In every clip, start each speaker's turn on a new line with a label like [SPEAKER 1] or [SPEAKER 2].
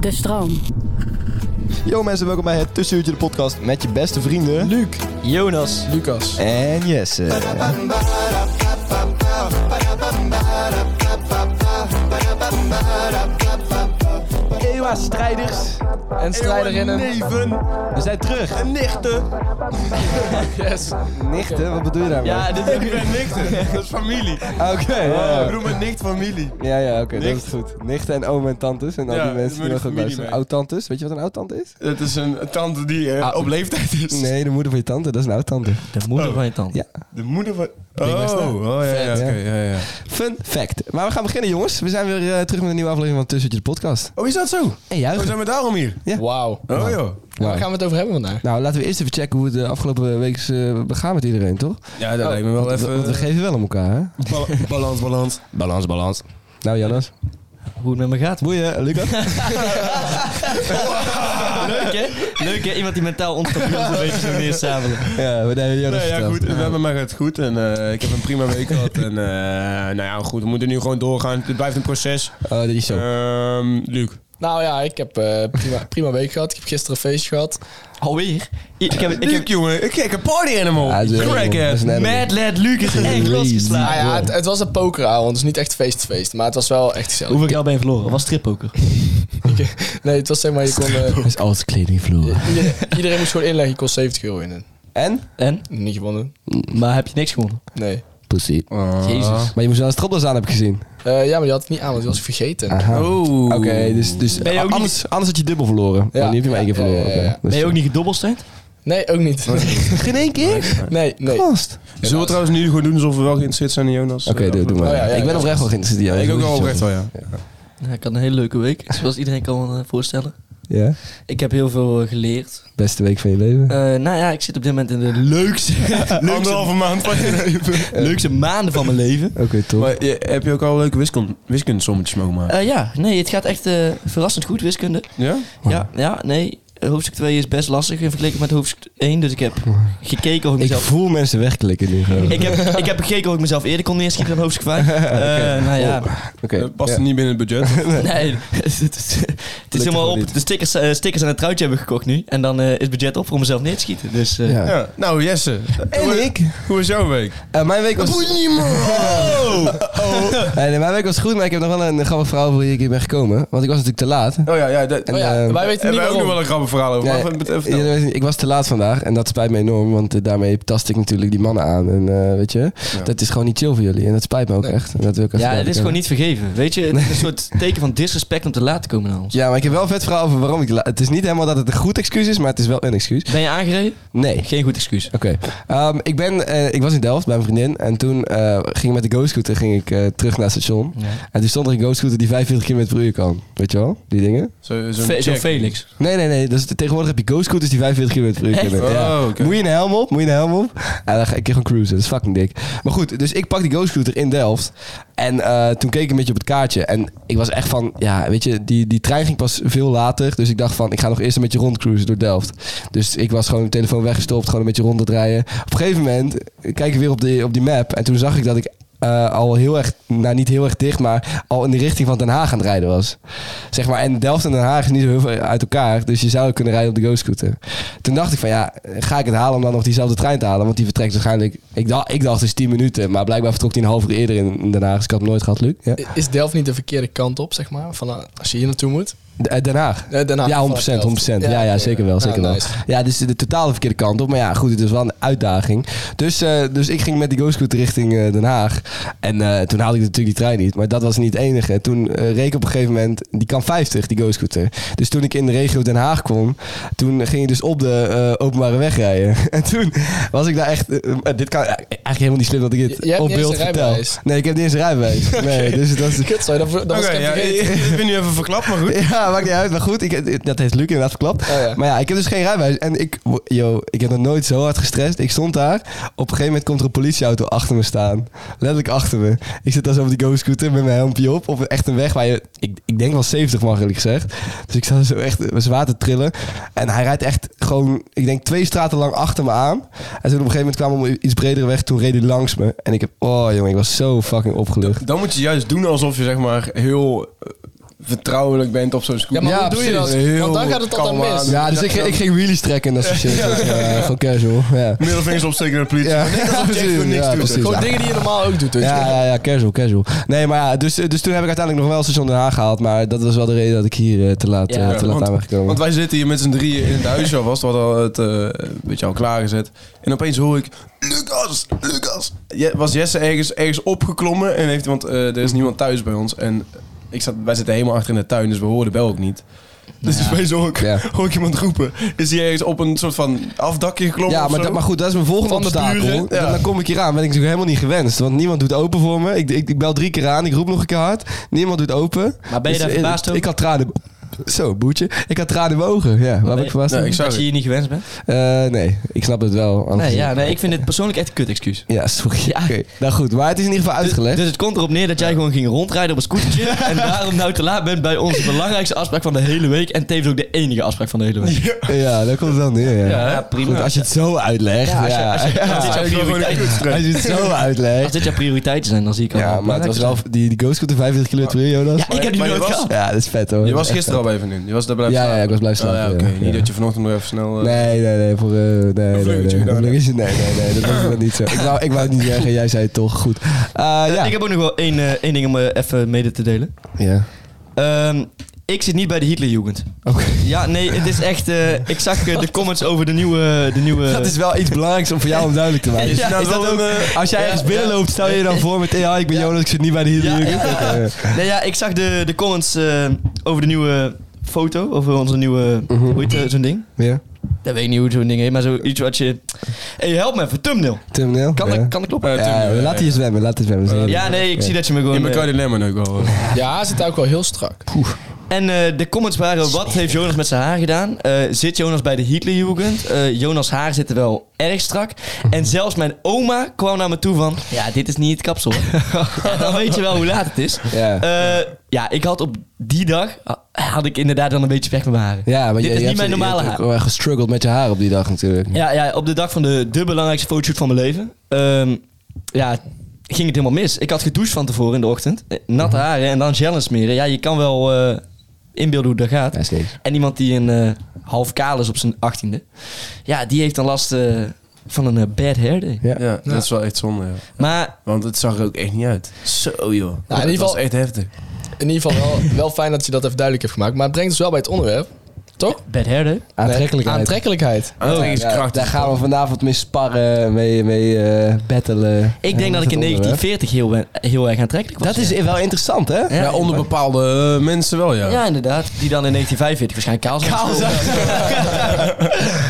[SPEAKER 1] De stroom.
[SPEAKER 2] Yo mensen, welkom bij het Tussenuurtje de podcast met je beste vrienden... Luc, Jonas
[SPEAKER 3] Lucas.
[SPEAKER 2] en Jesse.
[SPEAKER 3] Ewa strijders. En strijderinnen.
[SPEAKER 2] Neven
[SPEAKER 3] We zijn terug.
[SPEAKER 2] en nichten.
[SPEAKER 3] Yes.
[SPEAKER 2] Nichten? Wat bedoel je daarmee?
[SPEAKER 3] Ja, dit is
[SPEAKER 4] Ik ben nichten, dat is familie.
[SPEAKER 2] Ah, Oké, ja.
[SPEAKER 4] Ik bedoel met nicht familie.
[SPEAKER 2] Ja, ja, oké, dat is
[SPEAKER 4] Nichten.
[SPEAKER 2] goed. Nichten en oom en tantes en al
[SPEAKER 4] Ja,
[SPEAKER 2] die mensen die
[SPEAKER 4] daar
[SPEAKER 2] nog gaan
[SPEAKER 4] moet ik familie
[SPEAKER 2] luisteren.
[SPEAKER 4] mee.
[SPEAKER 2] Oud-tantes, weet je wat een oud-tante is?
[SPEAKER 4] Het is een tante die eh,
[SPEAKER 2] Ah.
[SPEAKER 4] op leeftijd is.
[SPEAKER 2] Nee, de moeder van je tante, dat is een oud-tante.
[SPEAKER 5] De
[SPEAKER 4] Oh.
[SPEAKER 5] moeder van je tante.
[SPEAKER 2] Ja.
[SPEAKER 4] De moeder van...
[SPEAKER 2] maar
[SPEAKER 4] Oh,
[SPEAKER 2] snel.
[SPEAKER 4] oh ja, ja,
[SPEAKER 2] Vet.
[SPEAKER 4] oké, ja, ja.
[SPEAKER 2] Fun fact. Maar we gaan beginnen jongens. We zijn weer eh, terug met een nieuwe aflevering van Tussenuurtje de podcast.
[SPEAKER 4] Oh, is dat zo? Oh,
[SPEAKER 2] En juichen.
[SPEAKER 4] zijn we daarom hier?
[SPEAKER 3] Wauw.
[SPEAKER 4] Oh joh.
[SPEAKER 2] Wauw.
[SPEAKER 3] Waar gaan we het over hebben vandaag?
[SPEAKER 2] Nou, laten we eerst even checken hoe het de afgelopen week is eh, begaan met iedereen, toch?
[SPEAKER 4] Ja, Oh, dat lijkt me wel
[SPEAKER 2] Want we- want we
[SPEAKER 4] even...
[SPEAKER 2] geven wel om elkaar, hè?
[SPEAKER 4] Bal- balans, balans.
[SPEAKER 2] Balans, balans. Nou, Jannes.
[SPEAKER 5] Hoe het met me gaat.
[SPEAKER 2] Boeien, Lucas.
[SPEAKER 5] Leuk hè? Leuk hè? Iemand die mentaal onstabiel is een beetje zo neersabelen.
[SPEAKER 2] ja, we hebben Jannes
[SPEAKER 4] Nee, ja,
[SPEAKER 2] verteld.
[SPEAKER 4] goed. We hebben maar het goed. En eh, ik heb een prima week gehad. En eh, nou ja, goed. We moeten nu gewoon doorgaan. Het blijft een proces.
[SPEAKER 2] Oh, dat is zo.
[SPEAKER 4] Ehm Luc.
[SPEAKER 3] Nou ja, ik heb eh, prima, prima week gehad. Ik heb gisteren een feestje gehad.
[SPEAKER 2] Ah,
[SPEAKER 5] Alweer? I- Ik heb, ik
[SPEAKER 4] Luc,
[SPEAKER 5] heb
[SPEAKER 4] jongen. Ik kijk een party
[SPEAKER 5] Ah,
[SPEAKER 4] animal.
[SPEAKER 2] Ja, dat is een animal. Dat is een animal.
[SPEAKER 5] Mad Lad Lucas echt
[SPEAKER 2] Crazy.
[SPEAKER 3] Nou
[SPEAKER 5] losgeslagen.
[SPEAKER 3] ja, het, het was een pokeravond, dus niet echt feestfeest. Maar het was wel echt gezellig.
[SPEAKER 5] Hoeveel geld ben je verloren? Was strippoker.
[SPEAKER 3] Nee, het was zeg maar, je kon, eh,
[SPEAKER 2] Dat is alles kledingvloer.
[SPEAKER 3] iedereen, iedereen moest gewoon inleggen. Je kon 70 euro in. eh,
[SPEAKER 2] En?
[SPEAKER 5] En?
[SPEAKER 3] Niet gewonnen.
[SPEAKER 5] Maar heb je niks gewonnen?
[SPEAKER 3] Nee.
[SPEAKER 2] Pussy.
[SPEAKER 3] Ah.
[SPEAKER 5] Jezus.
[SPEAKER 2] Maar je moest wel een stropdas aan, heb ik gezien.
[SPEAKER 3] Eh, ja, maar je had het niet aan, want die was ik vergeten.
[SPEAKER 2] Ah.
[SPEAKER 4] Oh.
[SPEAKER 2] Oké, dus, dus
[SPEAKER 5] Ben je ook
[SPEAKER 2] anders, anders had je dubbel verloren.
[SPEAKER 3] Ja.
[SPEAKER 2] Maar nu heb je maar één keer
[SPEAKER 3] Ja, ja,
[SPEAKER 2] verloren.
[SPEAKER 3] ja, ja.
[SPEAKER 2] Oké. Dus-
[SPEAKER 5] Ben je ook niet gedobbelsteund?
[SPEAKER 3] Nee, ook niet.
[SPEAKER 2] Geen één keer?
[SPEAKER 3] Nee, nee.
[SPEAKER 2] Gast.
[SPEAKER 4] Zullen we trouwens nu gewoon doen alsof we wel geïnteresseerd zijn in Jonas? Eh,
[SPEAKER 2] Oké, doe, doe maar.
[SPEAKER 3] Oh, ja, ja,
[SPEAKER 2] ik ben
[SPEAKER 3] ja.
[SPEAKER 2] oprecht wel dus geïnteresseerd. Ja,
[SPEAKER 4] Ik ook
[SPEAKER 2] moet
[SPEAKER 4] wel
[SPEAKER 2] het
[SPEAKER 4] oprecht wel, ja.
[SPEAKER 5] Ja, ik had een hele leuke week, zoals iedereen kan eh, voorstellen.
[SPEAKER 2] zeggen. Ja?
[SPEAKER 5] Ik heb heel veel eh, geleerd.
[SPEAKER 2] Beste week van je leven.
[SPEAKER 5] Eh, nou ja, ik zit op dit moment in de leukste, leukste,
[SPEAKER 4] Anderhalve maand van je leven.
[SPEAKER 5] leukste maanden van mijn leven.
[SPEAKER 2] Oké, top.
[SPEAKER 4] Maar je- heb je ook al leuke wiskund- wiskundesommetjes mogen maken?
[SPEAKER 5] Eh, ja, nee, het gaat echt eh, verrassend goed, wiskunde.
[SPEAKER 4] Ja?
[SPEAKER 5] Ja, ja, nee. Hoofdstuk 2 is best lastig in vergelijking met hoofdstuk 1. Dus ik heb gekeken hoe ik
[SPEAKER 2] ik
[SPEAKER 5] mezelf...
[SPEAKER 2] voel mensen wegklikken nu gewoon.
[SPEAKER 5] Ik heb, ik heb gekeken hoe ik mezelf eerder kon neerschieten dan hoofdstuk 5. Eh, nou ja.
[SPEAKER 2] Oké.
[SPEAKER 4] Dat past niet binnen het budget.
[SPEAKER 5] Nee, het is, het is helemaal
[SPEAKER 2] gewoon
[SPEAKER 5] op.
[SPEAKER 2] niet.
[SPEAKER 5] De stickers, eh, stickers en het truitje hebben gekocht nu. En dan eh, is het budget op voor mezelf neer te schieten. Dus eh,
[SPEAKER 2] Ja.
[SPEAKER 4] Ja. Nou, Jesse.
[SPEAKER 2] En
[SPEAKER 4] hoe,
[SPEAKER 2] ik?
[SPEAKER 4] Hoe was jouw week?
[SPEAKER 2] Eh, mijn week was...
[SPEAKER 5] Oh.
[SPEAKER 2] Eh, nee, mijn week was goed, maar ik heb nog wel een grappig verhaal voor je ik hier ben gekomen. Want ik was natuurlijk te laat.
[SPEAKER 4] Oh ja, ja. Dat,
[SPEAKER 2] En,
[SPEAKER 3] Oh ja,
[SPEAKER 2] ehm,
[SPEAKER 3] wij weten
[SPEAKER 4] hebben wij ook
[SPEAKER 3] niet
[SPEAKER 4] nog
[SPEAKER 3] waarom.
[SPEAKER 4] wel een grappig verhaal over.
[SPEAKER 2] Ja,
[SPEAKER 4] maar even- even
[SPEAKER 2] Ja,
[SPEAKER 4] vertellen.
[SPEAKER 2] dat weet ik niet. ik was te laat vandaag en dat spijt me enorm, want eh, daarmee tast ik natuurlijk die mannen aan. En eh, weet je,
[SPEAKER 4] Ja.
[SPEAKER 2] dat is gewoon niet chill voor jullie en dat spijt me ook echt. En dat wil ik even
[SPEAKER 5] ja, het
[SPEAKER 2] duidelijk
[SPEAKER 5] is gewoon
[SPEAKER 2] hebben.
[SPEAKER 5] niet vergeven. Weet je, het is een soort teken van disrespect om te laat te komen naar ons.
[SPEAKER 2] Ja, maar ik heb wel een vet verhaal over waarom ik... la- Het is niet helemaal dat het een goed excuus is, maar het is wel een excuus.
[SPEAKER 5] Ben je aangereden?
[SPEAKER 2] Nee.
[SPEAKER 5] Geen goed excuus.
[SPEAKER 2] Oké. Ehm, ik, ben, eh, ik was in Delft bij mijn vriendin en toen eh, ging ik met de go-scooter ging ik, eh, terug naar het station. En toen stond er een go-scooter die 45 km per uur kan. Weet je wel? Die dingen.
[SPEAKER 4] Zo, zo'n
[SPEAKER 5] Fe- Zo'n
[SPEAKER 4] check.
[SPEAKER 5] Felix.
[SPEAKER 2] Nee, nee, nee. Dus tegenwoordig heb je go-scooters die 45 km per uur
[SPEAKER 5] Echt?
[SPEAKER 2] kunnen. Ja.
[SPEAKER 4] Oh, oké.
[SPEAKER 2] Moet je een helm op? Moet je een helm op? En dan ga ik gewoon cruisen. Dat is fucking dik. Maar goed, dus ik pak die go-scooter in Delft. En eh, toen keek ik een beetje op het kaartje. En ik was echt van, ja, weet je, die, die trein ging pas veel later. Dus ik dacht van, ik ga nog eerst een beetje rondcruisen door Delft. Dus ik was gewoon mijn telefoon weggestopt, gewoon een beetje rond aan het rijden. Op een gegeven moment eh, kijk ik weer op, die, op die map. En toen zag ik dat ik eh, al heel erg, nou niet heel erg dicht, maar al in de richting van Den Haag aan het rijden was. Zeg maar, en Delft en Den Haag is niet zo heel veel uit elkaar, dus je zou kunnen rijden op de GoScooter. Toen dacht ik van ja, ga ik het halen om dan nog diezelfde trein te halen, want die vertrekt waarschijnlijk, ik dacht, ik dacht dus 10 minuten, maar blijkbaar vertrok die een half uur eerder in, in Den Haag, dus ik had hem nooit gehad, Luc. Ja.
[SPEAKER 3] Is Delft niet de verkeerde kant op, zeg maar? Van, eh, als je hier naartoe moet.
[SPEAKER 2] De- eh, Den Haag.
[SPEAKER 3] Eh, Den Haag
[SPEAKER 2] Ja, 100%,
[SPEAKER 3] vanuit Delft.
[SPEAKER 2] 100%. Ja, ja,
[SPEAKER 3] oké.
[SPEAKER 2] zeker wel,
[SPEAKER 3] Nou,
[SPEAKER 2] zeker wel.
[SPEAKER 3] nice.
[SPEAKER 2] Ja, dus de totale verkeerde kant op. Maar ja, goed, het is wel een uitdaging. Dus, eh, dus ik ging met die GoScooter richting eh, Den Haag. En eh, toen haalde ik natuurlijk die trein niet. Maar dat was niet het enige. Toen eh, reek op een gegeven moment, die kan 50, die GoScooter. Dus toen ik in de regio Den Haag kwam, toen ging ik dus op de eh, openbare weg rijden. En toen was ik daar echt... eh, eh, dit kan eigenlijk helemaal niet slim dat ik dit
[SPEAKER 3] Je- je hebt
[SPEAKER 2] op
[SPEAKER 3] niet eens
[SPEAKER 2] beeld
[SPEAKER 3] een
[SPEAKER 2] vertel.
[SPEAKER 3] rijbewijs.
[SPEAKER 2] Nee, ik heb niet eens een rijbewijs. Nee, dus dat is...
[SPEAKER 3] Kut, sorry, dat, dat was
[SPEAKER 4] Oké,
[SPEAKER 3] ik
[SPEAKER 4] ja,
[SPEAKER 3] even vergeten.
[SPEAKER 4] ik ben nu even verklapt, maar goed.
[SPEAKER 2] Ja, maakt niet uit. Maar goed, ik, dat heeft Luc inderdaad verklapt.
[SPEAKER 3] Oh ja.
[SPEAKER 2] Maar ja, ik heb dus geen rijbewijs. En ik, yo, ik heb nog nooit zo hard gestrest. Ik stond daar. Op een gegeven moment komt er een politieauto achter me staan. Letterlijk achter me. Ik zit daar zo op die go-scooter met mijn helmpje op. Op echt een weg waar je, ik, ik denk wel 70 mag eerlijk gezegd. Dus ik sta zo echt zwaar te trillen. En hij rijdt echt gewoon, ik denk twee straten lang achter me aan. En toen op een gegeven moment kwamen we op een iets bredere weg. Toen reed hij langs me. En ik heb, oh jongen, ik was zo fucking opgelucht.
[SPEAKER 4] Dan moet je juist doen alsof je zeg maar heel eh, vertrouwelijk bent op zo'n
[SPEAKER 3] Ja,
[SPEAKER 4] scooter.
[SPEAKER 3] maar
[SPEAKER 2] Ja,
[SPEAKER 3] hoe doe je dat?
[SPEAKER 4] precies. Heel
[SPEAKER 3] Want dan gaat het altijd
[SPEAKER 4] kalm aan.
[SPEAKER 3] mis.
[SPEAKER 2] Ja, dus ik, ging- ik ging wheelies trekken en dat soort shit. Dus, eh, gewoon casual. Ja.
[SPEAKER 4] Middelvingers opsteken naar de politie.
[SPEAKER 2] Ja.
[SPEAKER 4] Nee, dat is
[SPEAKER 2] Precies,
[SPEAKER 4] niks
[SPEAKER 2] ja,
[SPEAKER 4] doet.
[SPEAKER 2] precies.
[SPEAKER 4] Gewoon
[SPEAKER 3] Gewoon dingen die je normaal ook doet. dus weet je.
[SPEAKER 2] Ja, ja, ja, casual, casual. Nee, maar ja, dus, dus toen heb ik uiteindelijk nog wel seizoen Den Haag gehaald. Maar dat was wel de reden dat ik hier eh, te laat,
[SPEAKER 5] Ja,
[SPEAKER 2] eh, te laat
[SPEAKER 4] want-
[SPEAKER 2] aan ben gekomen.
[SPEAKER 4] Want wij zitten hier met z'n drieën in het huisje alvast. We hadden het eh, een beetje al klaargezet. En opeens hoor ik... Lucas! Lucas! Je- was Jesse ergens, ergens opgeklommen? En heeft, want eh, er is niemand thuis bij ons. En ik zat, wij zitten helemaal achter in de tuin, dus we hoorden bel ook niet. Dus opeens hoor ik,
[SPEAKER 2] Ja.
[SPEAKER 4] hoor ik iemand roepen. Is hij ergens op een soort van afdakje geklommen
[SPEAKER 2] ja,
[SPEAKER 4] of
[SPEAKER 2] maar,
[SPEAKER 4] zo?
[SPEAKER 2] dat, maar goed, dat is mijn volgende
[SPEAKER 4] Van de
[SPEAKER 2] obstakel.
[SPEAKER 4] buren, ja.
[SPEAKER 2] Dan- Dan kom ik hier aan, ben ik natuurlijk helemaal niet gewenst. Want niemand doet open voor me. Ik, ik, ik bel drie keer aan, ik roep nog een keer hard. Niemand doet open.
[SPEAKER 5] Maar ben je
[SPEAKER 2] Dus,
[SPEAKER 5] daar
[SPEAKER 2] eh,
[SPEAKER 5] verbaasd over?
[SPEAKER 2] Ik had tranen... Zo, boetje. Ik had tranen in mijn ogen. Ja, waar ben ik verbaasd
[SPEAKER 4] Nee,
[SPEAKER 2] over?
[SPEAKER 4] ik zou-
[SPEAKER 5] Dat je hier niet gewenst bent?
[SPEAKER 2] Eh, nee, ik snap het wel. anders-
[SPEAKER 5] Nee, ja, nee, ik vind het persoonlijk echt een kut excuus.
[SPEAKER 2] Ja, sorry.
[SPEAKER 5] Ja.
[SPEAKER 2] Oké, nou goed. Maar het is in ieder geval uitgelegd.
[SPEAKER 5] Dus, dus het komt erop neer dat jij gewoon ging rondrijden op een scootertje. en daarom nou te laat bent bij onze belangrijkste afspraak van de hele week. En tevens ook de enige afspraak van de hele week.
[SPEAKER 2] Ja, daar komt het wel neer. Ja,
[SPEAKER 5] Ja, prima.
[SPEAKER 2] Goed, als je het zo uitlegt. Ja,
[SPEAKER 5] als je- als je- als dit jouw
[SPEAKER 4] Ja, gewoon een
[SPEAKER 5] prioriteit-
[SPEAKER 4] kutstress.
[SPEAKER 2] als je het zo
[SPEAKER 5] Als
[SPEAKER 2] uitlegt.
[SPEAKER 5] dit jouw prioriteiten zijn, dan zie ik al.
[SPEAKER 2] Ja, maar het was wel die, die Ghost Scooter 45 km per uur, Jonas.
[SPEAKER 5] Ja, ik heb die
[SPEAKER 4] Maar je
[SPEAKER 5] nooit
[SPEAKER 4] was-
[SPEAKER 5] gehad.
[SPEAKER 2] Ja, dat is vet hoor.
[SPEAKER 4] Je was
[SPEAKER 2] Echt
[SPEAKER 4] gisteren al bij even in. Je was daar blijven
[SPEAKER 2] Ja,
[SPEAKER 4] slapen.
[SPEAKER 2] ja, ik was blijven
[SPEAKER 4] Oh,
[SPEAKER 2] slapen,
[SPEAKER 4] ja,
[SPEAKER 2] ja.
[SPEAKER 4] oké. Niet
[SPEAKER 2] Ja.
[SPEAKER 4] dat je vanochtend nog even snel...
[SPEAKER 2] vet.
[SPEAKER 4] eh,
[SPEAKER 2] Nee, nee, nee. Voor, eh, nee, nee, nee,
[SPEAKER 4] vleugeltje
[SPEAKER 2] nee,
[SPEAKER 4] gedaan,
[SPEAKER 2] nee, nee, nee, nee, dat was dat niet zo. Ik wou, ik wou het niet zeggen, jij zei het toch. Goed. Eh, ja.
[SPEAKER 5] Ik heb ook nog wel één, eh, één ding om eh, even mede te delen.
[SPEAKER 2] ja.
[SPEAKER 5] Ehm, ik zit niet bij de Hitlerjugend.
[SPEAKER 2] Oké.
[SPEAKER 5] Ja, nee, het is echt... eh, ik zag eh, de comments over de nieuwe... De nieuwe
[SPEAKER 2] Dat is wel iets belangrijks om voor jou om duidelijk te maken.
[SPEAKER 4] Is
[SPEAKER 5] Ja,
[SPEAKER 4] nou
[SPEAKER 5] is dat
[SPEAKER 4] wel
[SPEAKER 5] ook-
[SPEAKER 4] een, eh,
[SPEAKER 2] Als jij ergens binnenloopt, stel je je dan voor met... Ja, ik ben Jonas, ik zit niet bij de
[SPEAKER 5] Ja,
[SPEAKER 2] hier.
[SPEAKER 5] ja. Nee, ja, ik zag de, de comments eh, over de nieuwe foto. Over onze nieuwe...
[SPEAKER 2] Mhm.
[SPEAKER 5] Hoe heet eh, zo'n ding?
[SPEAKER 2] Ja.
[SPEAKER 5] Dat weet ik niet hoe zo'n ding heet, maar zoiets wat je... hey, help me even, thumbnail.
[SPEAKER 2] Thumbnail?
[SPEAKER 5] Kan,
[SPEAKER 2] ja.
[SPEAKER 5] dat, kan dat kloppen?
[SPEAKER 4] eh,
[SPEAKER 2] Ja,
[SPEAKER 4] Tim,
[SPEAKER 2] laat
[SPEAKER 4] eh,
[SPEAKER 2] die zwemmen, laat die zwemmen. Dat is
[SPEAKER 5] Ja, nee, ik zie dat je me gewoon...
[SPEAKER 4] In mijn
[SPEAKER 5] eh,
[SPEAKER 4] Cody Lemon ook wel.
[SPEAKER 3] Ja, hij zit ook wel heel strak.
[SPEAKER 5] En eh, de comments waren, wat heeft Jonas met zijn haar gedaan? Eh, zit Jonas bij de Hitlerjugend? Eh, Jonas' haar zit er wel erg strak. En zelfs mijn oma kwam naar me toe van... Ja, dit is niet het kapsel. hoor." ja, dan weet je wel hoe laat het is.
[SPEAKER 2] Ja.
[SPEAKER 5] Eh, ja, ik had op die dag... ah, had ik inderdaad dan een beetje pech met mijn haren.
[SPEAKER 2] Ja, maar
[SPEAKER 5] Dit
[SPEAKER 2] je,
[SPEAKER 5] is
[SPEAKER 2] je
[SPEAKER 5] niet
[SPEAKER 2] hebt-
[SPEAKER 5] mijn normale
[SPEAKER 2] je hebt
[SPEAKER 5] haar.
[SPEAKER 2] ook wel gestruggeld met je haar op die dag natuurlijk.
[SPEAKER 5] Ja, ja, op de dag van de, de belangrijkste fotoshoot van mijn leven. ehm, ja, ging het helemaal mis. Ik had gedoucht van tevoren in de ochtend. Eh, Natte
[SPEAKER 2] Mhm.
[SPEAKER 5] haren en dan gel en smeren. Ja, je kan wel eh, inbeelden hoe dat gaat.
[SPEAKER 2] Dat is niks.
[SPEAKER 5] En iemand die een eh, half kaal is op zijn achttiende. Ja, die heeft dan last eh, van een eh, bad hair day.
[SPEAKER 2] Ja.
[SPEAKER 4] Ja, dat is wel echt zonde, ja.
[SPEAKER 5] Maar
[SPEAKER 4] Want het zag er ook echt niet uit. Zo joh. Nou,
[SPEAKER 3] in ieder geval-
[SPEAKER 4] was echt heftig.
[SPEAKER 3] In ieder geval wel, wel fijn dat je dat even duidelijk hebt gemaakt. Maar het brengt ons wel bij het onderwerp. Toch?
[SPEAKER 5] bad hair day?
[SPEAKER 2] Aantrekkelijkheid.
[SPEAKER 3] Aantrekkelijkheid.
[SPEAKER 4] Oh, Aantrekkingskracht.
[SPEAKER 2] daar gaan we vanavond mee sparren, mee, mee eh, battelen.
[SPEAKER 5] Ik denk dat ik in 1940 heel, we- heel erg aantrekkelijk was.
[SPEAKER 2] Dat is wel interessant, hè?
[SPEAKER 4] ja, onder bepaalde eh, mensen wel, ja.
[SPEAKER 5] Ja, inderdaad. Die dan in 1945 waarschijnlijk kaal zijn.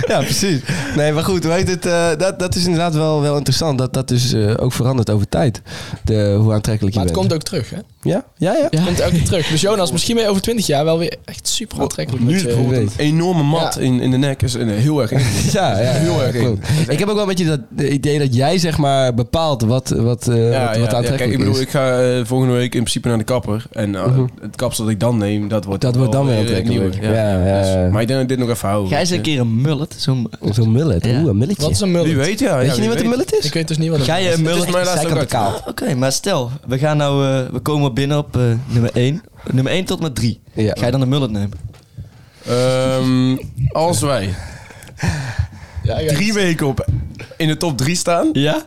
[SPEAKER 2] Ja, precies. Nee, maar goed, weet het, eh, dat, dat is inderdaad wel, wel interessant. Dat dat dus eh, ook verandert over tijd. De, hoe aantrekkelijk je
[SPEAKER 3] Maar het
[SPEAKER 2] bent.
[SPEAKER 3] komt ook terug, hè?
[SPEAKER 2] Ja? Ja, ja.
[SPEAKER 3] Het komt ook weer terug. Dus Jonas, misschien ben je over 20 jaar wel weer echt super aantrekkelijk.
[SPEAKER 4] Nu
[SPEAKER 3] met je-
[SPEAKER 4] bijvoorbeeld
[SPEAKER 2] weet.
[SPEAKER 4] een enorme mat
[SPEAKER 3] Ja.
[SPEAKER 4] in, in de nek. Is eh, heel erg ingewikkeld.
[SPEAKER 2] Ja, ja,
[SPEAKER 4] Heel erg
[SPEAKER 2] klopt. Ik heb ook wel een beetje dat eh, idee dat jij zeg maar bepaalt wat, wat, eh, wat, wat aantrekkelijk
[SPEAKER 4] kijk, ik bedoel,
[SPEAKER 2] is. Mhm.
[SPEAKER 4] ik ga eh, volgende week in principe naar de kapper. En eh, het kapsel dat ik dan neem, dat wordt,
[SPEAKER 2] Dat wordt dan weer
[SPEAKER 4] wel, eh,
[SPEAKER 2] aantrekkelijk.
[SPEAKER 4] nieuwer.
[SPEAKER 2] Ja, ja,
[SPEAKER 4] Dus-
[SPEAKER 2] ja.
[SPEAKER 4] maar ik denk dat ik dit nog even hou.
[SPEAKER 5] Ga eens een keer een mullet. Zo'n...
[SPEAKER 2] Zo'n mullet.
[SPEAKER 5] Ja.
[SPEAKER 2] Oeh, een mulletje.
[SPEAKER 3] Wat is een mullet?
[SPEAKER 4] Wie weet, ja.
[SPEAKER 2] weet
[SPEAKER 4] ja,
[SPEAKER 2] je niet
[SPEAKER 4] wie
[SPEAKER 2] wat een
[SPEAKER 4] weet.
[SPEAKER 2] mullet is?
[SPEAKER 3] Ik weet dus niet wat een
[SPEAKER 5] Ga je een
[SPEAKER 4] Het is
[SPEAKER 5] eh, mullet...
[SPEAKER 4] mij laatst ook
[SPEAKER 2] Zijkant
[SPEAKER 4] uit.
[SPEAKER 2] kaal.
[SPEAKER 5] Oké, maar stel, we gaan nou... eh, we komen binnen op eh, nummer 1. Nummer 1 tot met 3.
[SPEAKER 2] Ja.
[SPEAKER 5] Ga je dan een mullet nemen?
[SPEAKER 4] Ehm, als wij
[SPEAKER 3] Ja, ja.
[SPEAKER 4] drie weken op in de top drie staan,
[SPEAKER 5] Ja?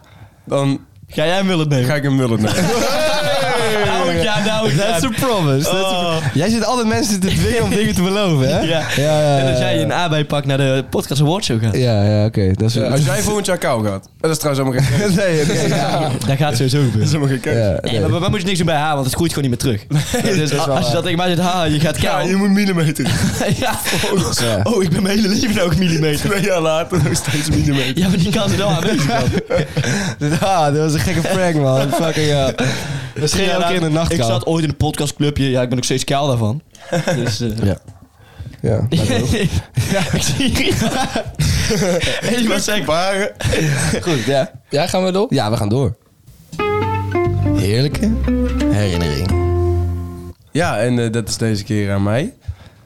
[SPEAKER 4] dan
[SPEAKER 5] Ga jij een mullet nemen?
[SPEAKER 4] ga ik een mullet nemen.
[SPEAKER 5] Nou, ja, nou,
[SPEAKER 2] That's a
[SPEAKER 5] ja.
[SPEAKER 2] promise. That's a-
[SPEAKER 5] Oh,
[SPEAKER 2] Jij zit altijd mensen te dwingen om dingen te beloven, hè?
[SPEAKER 5] ja.
[SPEAKER 2] ja, ja,
[SPEAKER 5] En dat
[SPEAKER 2] ja,
[SPEAKER 5] jij
[SPEAKER 2] ja.
[SPEAKER 5] een AB pak naar de Podcast Awardshow gaat.
[SPEAKER 2] Ja, ja, oké. Dat is...
[SPEAKER 4] Als jij volgend jaar kou gaat. Dat is trouwens helemaal geen Dat
[SPEAKER 2] Nee, oké, ja.
[SPEAKER 5] Dat gaat sowieso gebeuren.
[SPEAKER 4] is helemaal geen keuze.
[SPEAKER 2] Ja,
[SPEAKER 5] Nee, maar bij mij moet je niks meer bij haar, want het groeit gewoon niet meer terug. dus als je dat tegen mij zegt, ha, je gaat
[SPEAKER 4] Ja,
[SPEAKER 5] kou.
[SPEAKER 4] je moet millimeter.
[SPEAKER 5] Ja.
[SPEAKER 2] Ja.
[SPEAKER 5] Oh, ik ben mijn hele leven nou ook millimeter.
[SPEAKER 4] Twee jaar later nog steeds millimeter.
[SPEAKER 5] Ja, maar die kans is wel aanwezig dan.
[SPEAKER 2] Ah, dat was een gekke prank, man. Fucking ja. Dat schreef je ook in de nacht.
[SPEAKER 5] Ik zat ooit in een podcastclubje. Ja, ik ben nog steeds kaal daarvan. Dus... eh,
[SPEAKER 2] Ja. Ja.
[SPEAKER 5] ja, ik zie Hé, wat zeg
[SPEAKER 4] Waren.
[SPEAKER 2] Goed, ja.
[SPEAKER 3] Ja, gaan we door?
[SPEAKER 2] Ja, we gaan door. Heerlijke herinnering.
[SPEAKER 4] Ja, en eh, dat is deze keer aan mij.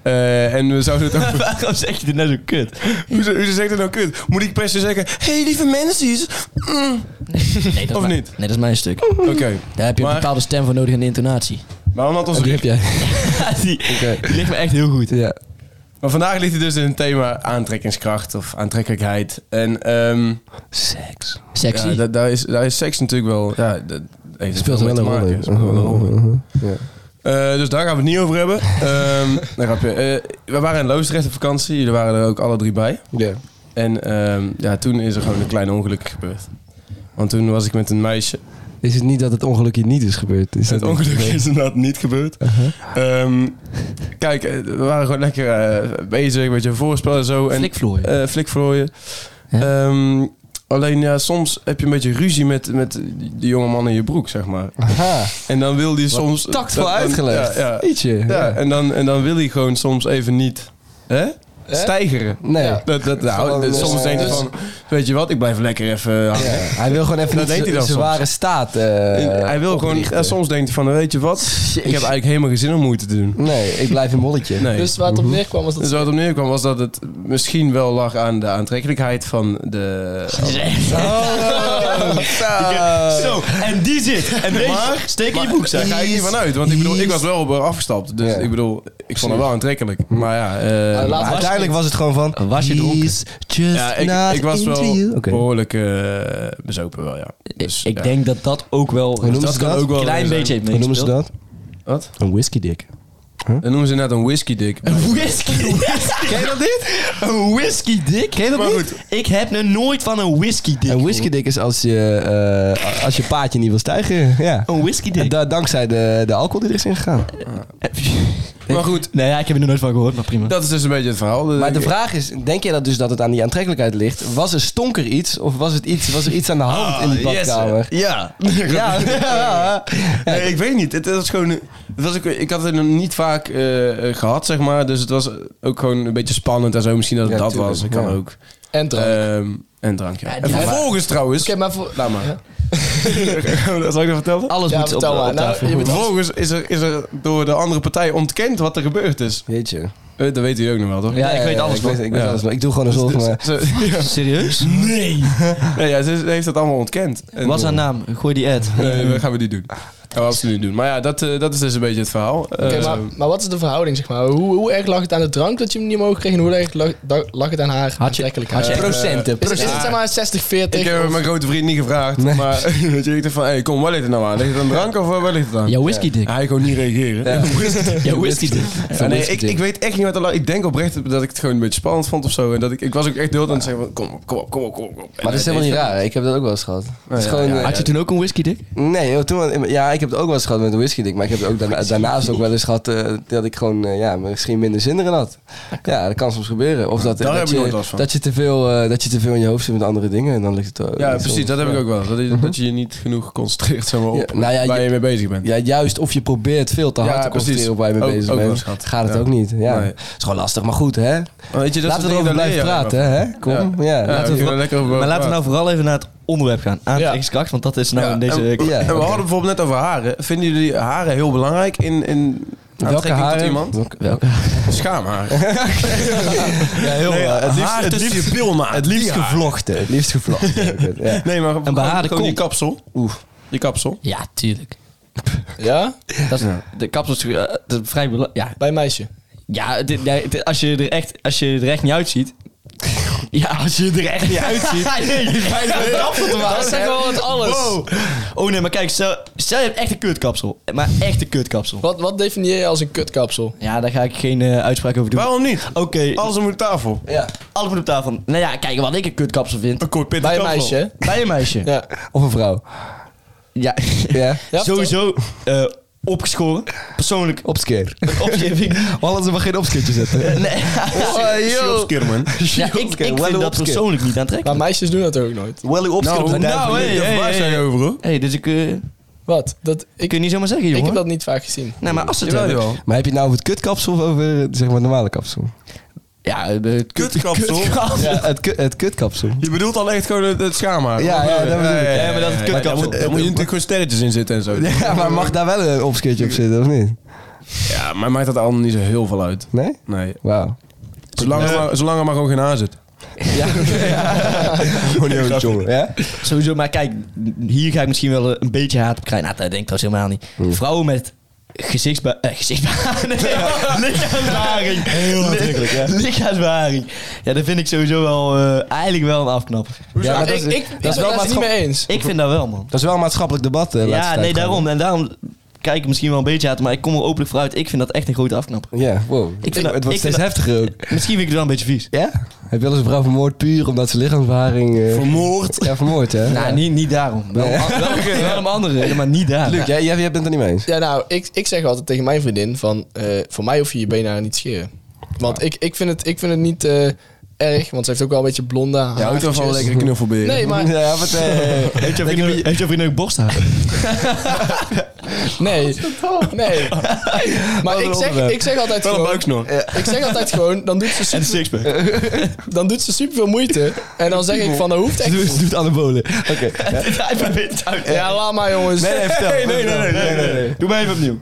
[SPEAKER 4] Eh, en we zouden het over...
[SPEAKER 5] Waarom zeg je dit nou zo kut?
[SPEAKER 4] Hoe ze- hoe ze zegt het nou kut? Moet ik per se zeggen... hey, lieve mensen.
[SPEAKER 5] Nee, dat
[SPEAKER 4] Of
[SPEAKER 5] is mijn-
[SPEAKER 4] niet?
[SPEAKER 5] Nee, dat is mijn stuk.
[SPEAKER 4] Oké.
[SPEAKER 5] Daar heb je een
[SPEAKER 4] Maar-
[SPEAKER 5] bepaalde stem voor nodig en intonatie.
[SPEAKER 4] Maar omdat onze
[SPEAKER 2] Die heb jij.
[SPEAKER 5] die,
[SPEAKER 2] Oké.
[SPEAKER 5] die ligt me echt heel goed.
[SPEAKER 2] Ja.
[SPEAKER 4] Maar vandaag ligt het dus in het thema aantrekkingskracht of aantrekkelijkheid. En ehm,
[SPEAKER 2] Seks.
[SPEAKER 5] Sexy.
[SPEAKER 4] ja, da- daar, is, daar is seks natuurlijk wel... Ja, dat heeft
[SPEAKER 2] Speelt
[SPEAKER 4] veel
[SPEAKER 2] wel
[SPEAKER 4] mee
[SPEAKER 2] een
[SPEAKER 4] te
[SPEAKER 2] rol
[SPEAKER 4] maken.
[SPEAKER 2] in.
[SPEAKER 4] Speelt wel een
[SPEAKER 2] Mhm,
[SPEAKER 4] rol in.
[SPEAKER 2] Ja.
[SPEAKER 4] Eh, dus daar gaan we het niet over hebben. Ehm nee, grapje. Eh, we waren in Loosdrecht op vakantie. Jullie waren er ook alle drie bij.
[SPEAKER 2] Ja.
[SPEAKER 4] En ehm, ja, toen is er gewoon een klein ongeluk gebeurd. Want toen was ik met een meisje.
[SPEAKER 2] Is het niet dat het ongeluk hier niet is gebeurd? Is
[SPEAKER 4] Het
[SPEAKER 2] dat-
[SPEAKER 4] ongeluk
[SPEAKER 2] Nee.
[SPEAKER 4] is inderdaad niet gebeurd. Ehm, kijk, eh, we waren gewoon lekker eh, bezig met je voorspel en zo. En
[SPEAKER 5] Flikvlooi.
[SPEAKER 4] eh flikvlooien.
[SPEAKER 5] Ja.
[SPEAKER 4] Ehm, alleen ja, soms heb je een beetje ruzie met, met die jonge man in je broek, zeg maar.
[SPEAKER 2] Aha.
[SPEAKER 4] En dan wil die soms...
[SPEAKER 2] Tactvol
[SPEAKER 4] dan- dan-
[SPEAKER 2] uitgelegd.
[SPEAKER 4] Ja, ja.
[SPEAKER 2] Ietsje.
[SPEAKER 4] Ja, en dan, en dan wil hij gewoon soms even niet hè?
[SPEAKER 3] Hè?
[SPEAKER 4] stijgeren.
[SPEAKER 2] Nee.
[SPEAKER 3] Ja.
[SPEAKER 4] Dat, dat,
[SPEAKER 2] Gewoon
[SPEAKER 4] nou, dat-
[SPEAKER 2] los.
[SPEAKER 4] soms denk je
[SPEAKER 2] Dus-
[SPEAKER 4] van, weet je wat, ik blijf lekker even hangen.
[SPEAKER 2] Hij wil gewoon even
[SPEAKER 4] Dat deed
[SPEAKER 2] niet
[SPEAKER 4] hij dan
[SPEAKER 2] zijn
[SPEAKER 4] soms.
[SPEAKER 2] ware staat. eh,
[SPEAKER 4] En hij wil gewoon,
[SPEAKER 2] oplichten.
[SPEAKER 4] ja, soms denkt hij van, weet je wat, ik heb eigenlijk helemaal geen zin om moeite te doen.
[SPEAKER 2] Nee, ik blijf een molletje.
[SPEAKER 4] Nee.
[SPEAKER 3] Dus waar het op neerkwam was
[SPEAKER 4] Dus
[SPEAKER 3] dat...
[SPEAKER 4] wat op neerkwam was dat het misschien wel lag aan de aantrekkelijkheid van de... Oh,
[SPEAKER 5] Zo, en die zit. En deze
[SPEAKER 4] Maar-
[SPEAKER 5] steek in je
[SPEAKER 4] Maar Daar
[SPEAKER 5] broekzak.
[SPEAKER 4] ga ik niet van uit, want ik bedoel, ik was wel op haar afgestapt. Dus
[SPEAKER 2] Ja. Hm. Ah,
[SPEAKER 4] ik bedoel, ik vond het wel aantrekkelijk. Maar ja, eh,
[SPEAKER 3] Maar laat-
[SPEAKER 2] Maar uiteindelijk was het gewoon van...
[SPEAKER 5] Was je dronken?
[SPEAKER 2] "He's just
[SPEAKER 4] ja ik,
[SPEAKER 2] not
[SPEAKER 4] ik was
[SPEAKER 2] into
[SPEAKER 4] wel
[SPEAKER 2] you." Oké.
[SPEAKER 4] behoorlijk eh, bezopen wel, ja. Dus,
[SPEAKER 5] ik
[SPEAKER 4] ja.
[SPEAKER 5] denk dat dat ook wel
[SPEAKER 2] Hoe
[SPEAKER 5] een
[SPEAKER 2] noemen ze dat?
[SPEAKER 4] ook wel
[SPEAKER 5] klein
[SPEAKER 4] zijn.
[SPEAKER 5] beetje heeft
[SPEAKER 2] Hoe noemen ze
[SPEAKER 5] meegespeeld.
[SPEAKER 2] dat?
[SPEAKER 4] Wat?
[SPEAKER 2] Een whisky dick.
[SPEAKER 4] Dan noemen ze net een whisky dik.
[SPEAKER 5] Whisky. Ken je dat dit? Een whisky dik? Ken je dat
[SPEAKER 4] Maar
[SPEAKER 5] niet? Ik heb nog nooit van een whisky dik.
[SPEAKER 2] Een whisky dick is als je, eh, als je paadje niet wil stijgen. Ja.
[SPEAKER 5] Een whisky dik.
[SPEAKER 2] Da- dankzij de, de alcohol die er is ingegaan.
[SPEAKER 4] Maar goed,
[SPEAKER 5] Nee, ja, ik heb er nog nooit van gehoord, maar prima.
[SPEAKER 4] dat is dus een beetje het verhaal.
[SPEAKER 2] Maar de vraag is, denk jij dat dus dat het aan die aantrekkelijkheid ligt? Was er stonker iets of was, het iets, was er iets aan de hand in die badkamer?
[SPEAKER 4] Ah, Ja.
[SPEAKER 2] Ja, ja.
[SPEAKER 4] Nee, ik weet niet. Het was gewoon... Het was ook, ik had het nog niet vaak eh, eh, gehad, zeg maar. Dus het was ook gewoon een beetje spannend en zo. Misschien dat het
[SPEAKER 2] Ja,
[SPEAKER 4] dat
[SPEAKER 2] tuurlijk,
[SPEAKER 4] was. Ik kan
[SPEAKER 2] ja.
[SPEAKER 4] ook.
[SPEAKER 3] En drank.
[SPEAKER 5] Eh,
[SPEAKER 4] Ehm, en drank, ja. en vervolgens trouwens...
[SPEAKER 3] Oké, maar voor...
[SPEAKER 4] Laat maar.
[SPEAKER 3] Ja.
[SPEAKER 4] Zal ik dat
[SPEAKER 2] Ah,
[SPEAKER 4] vertellen?
[SPEAKER 5] Alles
[SPEAKER 3] Ja,
[SPEAKER 5] moet op, de-
[SPEAKER 3] vertel maar.
[SPEAKER 5] op tafel.
[SPEAKER 3] Nou, je bent-
[SPEAKER 4] Vervolgens is er, is er door de andere partij ontkend wat er gebeurd is.
[SPEAKER 2] Weet je.
[SPEAKER 4] Eh, Dat weten jullie ook nog wel, toch?
[SPEAKER 5] Ja, ik weet alles
[SPEAKER 2] Ik
[SPEAKER 5] van.
[SPEAKER 2] weet, ik weet
[SPEAKER 4] Ja.
[SPEAKER 2] alles van. Ik doe gewoon een zorg. maar-
[SPEAKER 4] Ze- ja.
[SPEAKER 5] Serieus? Nee.
[SPEAKER 4] Nee, ja, ze ze heeft dat allemaal ontkend. En-
[SPEAKER 5] Wat is haar naam? Gooi die ad.
[SPEAKER 4] Nee, dat gaan we niet doen. Dat gaan we absoluut niet doen. Maar ja, dat, eh, dat is dus een beetje het verhaal.
[SPEAKER 3] Oké,
[SPEAKER 4] Eh,
[SPEAKER 3] maar, maar wat is de verhouding, zeg maar? Hoe, hoe erg lag het aan de drank dat je hem niet omhoog kreeg? En hoe erg lag, da- lag het aan haar aantrekkelijkheid?
[SPEAKER 5] had je-
[SPEAKER 2] Procenten.
[SPEAKER 3] is, is het zeg maar
[SPEAKER 4] ik
[SPEAKER 3] 60-40?
[SPEAKER 4] heb
[SPEAKER 3] of-
[SPEAKER 4] mijn grote vriend niet gevraagd. Maar weet je, ik dacht van, hey, kom, waar ligt het nou aan? Ligt het aan drank of eh, waar ligt het aan?
[SPEAKER 5] Jouw whisky dik.
[SPEAKER 4] Hij kon niet reageren.
[SPEAKER 5] Jouw whisky dik.
[SPEAKER 4] Ja, nee, ik, ik weet echt niet wat er la- Ik denk oprecht dat ik het gewoon een beetje spannend vond of zo. En dat ik, ik was ook echt heel aan het zeggen van, kom op, kom op, kom op, kom op. kom op. En
[SPEAKER 2] Maar dat is
[SPEAKER 4] hij
[SPEAKER 2] helemaal niet
[SPEAKER 4] deed
[SPEAKER 2] raar. Ik heb dat ook wel eens gehad. Het is gewoon, eh,
[SPEAKER 5] Had je toen ook een whisky dik?
[SPEAKER 2] Nee, joh, toen, ja, ik heb heb het ook wel eens gehad met een whisky dik. Maar ik heb het ook daarna- daarnaast ook wel eens gehad eh, dat ik gewoon eh, ja, misschien minder zin erin had. Ja, dat kan soms gebeuren. Of dat,
[SPEAKER 4] daar
[SPEAKER 2] dat,
[SPEAKER 4] heb ik nooit
[SPEAKER 2] je,
[SPEAKER 4] last van.
[SPEAKER 2] dat, je te veel, eh, dat je te veel in je hoofd zit met andere dingen. En dan ligt het eh,
[SPEAKER 4] Ja,
[SPEAKER 2] soms-
[SPEAKER 4] precies. Dat heb ik ook wel. Dat je, dat je je niet genoeg concentreert zeg maar, op
[SPEAKER 2] Mhm. Ja, nou ja,
[SPEAKER 4] waar
[SPEAKER 2] je-
[SPEAKER 4] je, mee bezig bent.
[SPEAKER 2] Ja, juist. Of je probeert veel te
[SPEAKER 4] Ja,
[SPEAKER 2] hard te
[SPEAKER 4] precies.
[SPEAKER 2] concentreren op waar je mee
[SPEAKER 4] Ook-
[SPEAKER 2] bezig
[SPEAKER 4] ook wel
[SPEAKER 2] bent.
[SPEAKER 4] eens gehad.
[SPEAKER 2] Gaat het
[SPEAKER 4] Ja.
[SPEAKER 2] ook niet. Ja,
[SPEAKER 4] Nee.
[SPEAKER 2] is gewoon lastig. Maar goed, hè.
[SPEAKER 4] Maar weet je, dat
[SPEAKER 2] laten we
[SPEAKER 4] soort dingen,
[SPEAKER 2] erover
[SPEAKER 4] daar
[SPEAKER 2] blijven
[SPEAKER 4] leer je
[SPEAKER 2] praten, hè. Kom. Ja,
[SPEAKER 4] Ja,
[SPEAKER 2] laten we
[SPEAKER 4] ik wil er lekker over
[SPEAKER 5] Maar laten
[SPEAKER 4] praten.
[SPEAKER 5] we nou vooral even naar het onderwerp gaan. Aantrekkingskracht, want dat is nou
[SPEAKER 4] Ja,
[SPEAKER 5] in deze...
[SPEAKER 4] en,
[SPEAKER 2] Ja,
[SPEAKER 4] en we
[SPEAKER 2] oké.
[SPEAKER 4] hadden bijvoorbeeld net over haren. Vinden jullie haren heel belangrijk in, in
[SPEAKER 2] Welke
[SPEAKER 4] aantrekking tot
[SPEAKER 2] haren?
[SPEAKER 4] iemand?
[SPEAKER 2] Welke, welke?
[SPEAKER 4] Schaamhaar.
[SPEAKER 2] Ja, heel
[SPEAKER 4] Nee,
[SPEAKER 2] wel.
[SPEAKER 4] het liefst, het liefst je pilnaar.
[SPEAKER 2] Het liefst gevlochten. Het liefst gevlochten. ja.
[SPEAKER 4] Nee, maar gewoon-
[SPEAKER 5] behaarde
[SPEAKER 4] gewoon je
[SPEAKER 5] kont.
[SPEAKER 4] kapsel. Oeh. Je kapsel.
[SPEAKER 5] Ja, tuurlijk.
[SPEAKER 3] Ja?
[SPEAKER 5] Dat is, De kapsel is eh, dat is vrij bela- Ja,
[SPEAKER 3] Bij een meisje.
[SPEAKER 5] ja dit- nee, dit- als, je er echt, als je er echt niet uitziet... Ja, als je er echt niet uitziet. nee, je fijn om een kapsel te maken. Dat is gewoon het alles. Oh nee, maar kijk, stel, stel je hebt echt een kutkapsel. Maar echt een kutkapsel.
[SPEAKER 3] Wat, wat definieer je als een kutkapsel?
[SPEAKER 5] Ja, daar ga ik geen eh, uitspraak over doen.
[SPEAKER 4] Waarom niet?
[SPEAKER 5] Oké,
[SPEAKER 4] Alles om de tafel.
[SPEAKER 2] Ja.
[SPEAKER 5] alles moet op tafel. Nou ja, kijk, wat ik een kutkapsel vind.
[SPEAKER 4] Een kort pittig
[SPEAKER 3] Bij een
[SPEAKER 4] kapsel.
[SPEAKER 3] meisje, hè?
[SPEAKER 5] Bij een meisje.
[SPEAKER 3] Ja.
[SPEAKER 2] Of een vrouw.
[SPEAKER 5] Ja.
[SPEAKER 2] Ja.
[SPEAKER 3] Ja,
[SPEAKER 5] Sowieso eh, opgeschoren. Persoonlijk
[SPEAKER 2] Opskeer.
[SPEAKER 5] opgeving.
[SPEAKER 2] Hollanders mag geen opskeertje zetten.
[SPEAKER 5] Nee.
[SPEAKER 4] Zie je op skeer, man.
[SPEAKER 5] Ja, ik, ik vind dat persoonlijk niet
[SPEAKER 3] Maar
[SPEAKER 5] aantrekkelijk.
[SPEAKER 3] meisjes doen dat ook nooit.
[SPEAKER 5] Wel op
[SPEAKER 2] Oh,
[SPEAKER 4] Nou, nou,
[SPEAKER 5] nou,
[SPEAKER 4] hey, hey, hey, hey. over, hoor.
[SPEAKER 5] Hé, dus ik, eh,
[SPEAKER 3] Wat? Dat,
[SPEAKER 5] ik
[SPEAKER 3] ik,
[SPEAKER 5] kun je niet zomaar zeggen,
[SPEAKER 3] ik
[SPEAKER 5] jongen.
[SPEAKER 3] heb dat niet vaak gezien.
[SPEAKER 5] Nee, maar als ze het
[SPEAKER 4] Jawel,
[SPEAKER 5] hebben...
[SPEAKER 4] jawel.
[SPEAKER 2] Maar heb je het nou over het kutkapsel of over eh, zeg maar, het normale kapsel?
[SPEAKER 5] Ja, eh, het kut-
[SPEAKER 4] Kutkapsel.
[SPEAKER 5] kutkapsel.
[SPEAKER 2] Ja. Het, ku- het kutkapsel.
[SPEAKER 4] Je bedoelt al echt gewoon het, het schaamhaar.
[SPEAKER 2] Ja, ja, dat bedoel ik.
[SPEAKER 5] Ja, maar dat het kutkapsel-
[SPEAKER 4] Daar moet, daar moet je natuurlijk gewoon sterretjes in zitten en zo.
[SPEAKER 2] Ja, maar mag daar wel een opskeertje op zitten, of niet?
[SPEAKER 4] Ja, maar maakt dat allemaal niet zo heel veel uit.
[SPEAKER 2] Nee?
[SPEAKER 4] Nee.
[SPEAKER 2] Wauw.
[SPEAKER 4] Zolang, er, maar, zolang er maar gewoon geen haar zit.
[SPEAKER 2] Gewoon niet over jongen. Ja?
[SPEAKER 5] Sowieso, maar kijk, hier ga ik misschien wel een beetje haat op krijgen. Nou, dat denk ik trouwens helemaal
[SPEAKER 2] Hmm.
[SPEAKER 5] niet. Vrouwen met gezichtsba... eh, gezichtsbeharing. Nee, lichaamsbeharing. Heel
[SPEAKER 2] aantrekkelijk, ja.
[SPEAKER 5] Lichaamsbeharing. Ja, dat vind ik sowieso wel... eh, eigenlijk wel een afknapper.
[SPEAKER 2] Ja, maar dat
[SPEAKER 3] ik,
[SPEAKER 2] is,
[SPEAKER 3] ik,
[SPEAKER 2] dat is wel
[SPEAKER 3] het niet
[SPEAKER 2] maatschappelijk.
[SPEAKER 3] mee eens.
[SPEAKER 5] Ik vind dat wel, man.
[SPEAKER 2] Dat is wel een maatschappelijk debat. eh, laatste
[SPEAKER 5] Ja,
[SPEAKER 2] tijd
[SPEAKER 5] nee,
[SPEAKER 2] gewoon.
[SPEAKER 5] daarom. En daarom kijk ik misschien wel een beetje haat, maar ik kom er openlijk vooruit. Ik vind dat echt een grote afknapper.
[SPEAKER 2] Ja, wow.
[SPEAKER 5] Ik vind dat-
[SPEAKER 2] het wordt
[SPEAKER 5] ik vind
[SPEAKER 2] steeds heftiger ook.
[SPEAKER 5] Misschien vind ik het wel een beetje vies.
[SPEAKER 2] Ja? Heb je wel eens een vrouw vermoord puur omdat ze lichaamsbeharing... eh,
[SPEAKER 4] Vermoord.
[SPEAKER 2] Ja, vermoord, hè?
[SPEAKER 5] Nou,
[SPEAKER 2] Ja.
[SPEAKER 5] niet, niet daarom. Wel, wel, wel om anderen, maar niet daarom.
[SPEAKER 2] Luc, jij, jij, jij bent het er niet mee eens.
[SPEAKER 3] Ja, nou, ik, ik zeg altijd tegen mijn vriendin van... eh, voor mij hoef je je benen niet te scheren. Want ik, ik, vind het, ik vind het niet eh, erg, want ze heeft ook wel een beetje blonde haar.
[SPEAKER 4] Ja, ook toch wel een lekkere knuffelberen.
[SPEAKER 3] Nee, maar...
[SPEAKER 2] Ja, wat... eh,
[SPEAKER 5] Heeft jouw vriendin, heeft jouw vriendin ook borsthaar?
[SPEAKER 3] Nee. Nee. Maar ik zeg, ik zeg altijd
[SPEAKER 4] Wel een
[SPEAKER 3] gewoon...
[SPEAKER 4] buiksnor.
[SPEAKER 3] Ik zeg altijd gewoon, dan doet ze
[SPEAKER 5] En een
[SPEAKER 3] super,
[SPEAKER 5] sixpack.
[SPEAKER 3] dan doet ze super veel moeite. En dan zeg ik van, dat hoeft echt
[SPEAKER 2] Doe
[SPEAKER 3] niet.
[SPEAKER 2] doet anabolen. Oké.
[SPEAKER 5] Hij probeert het uit.
[SPEAKER 3] Ja, laat maar jongens.
[SPEAKER 5] Nee, nee, nee, nee, nee, nee, nee. Doe maar even opnieuw.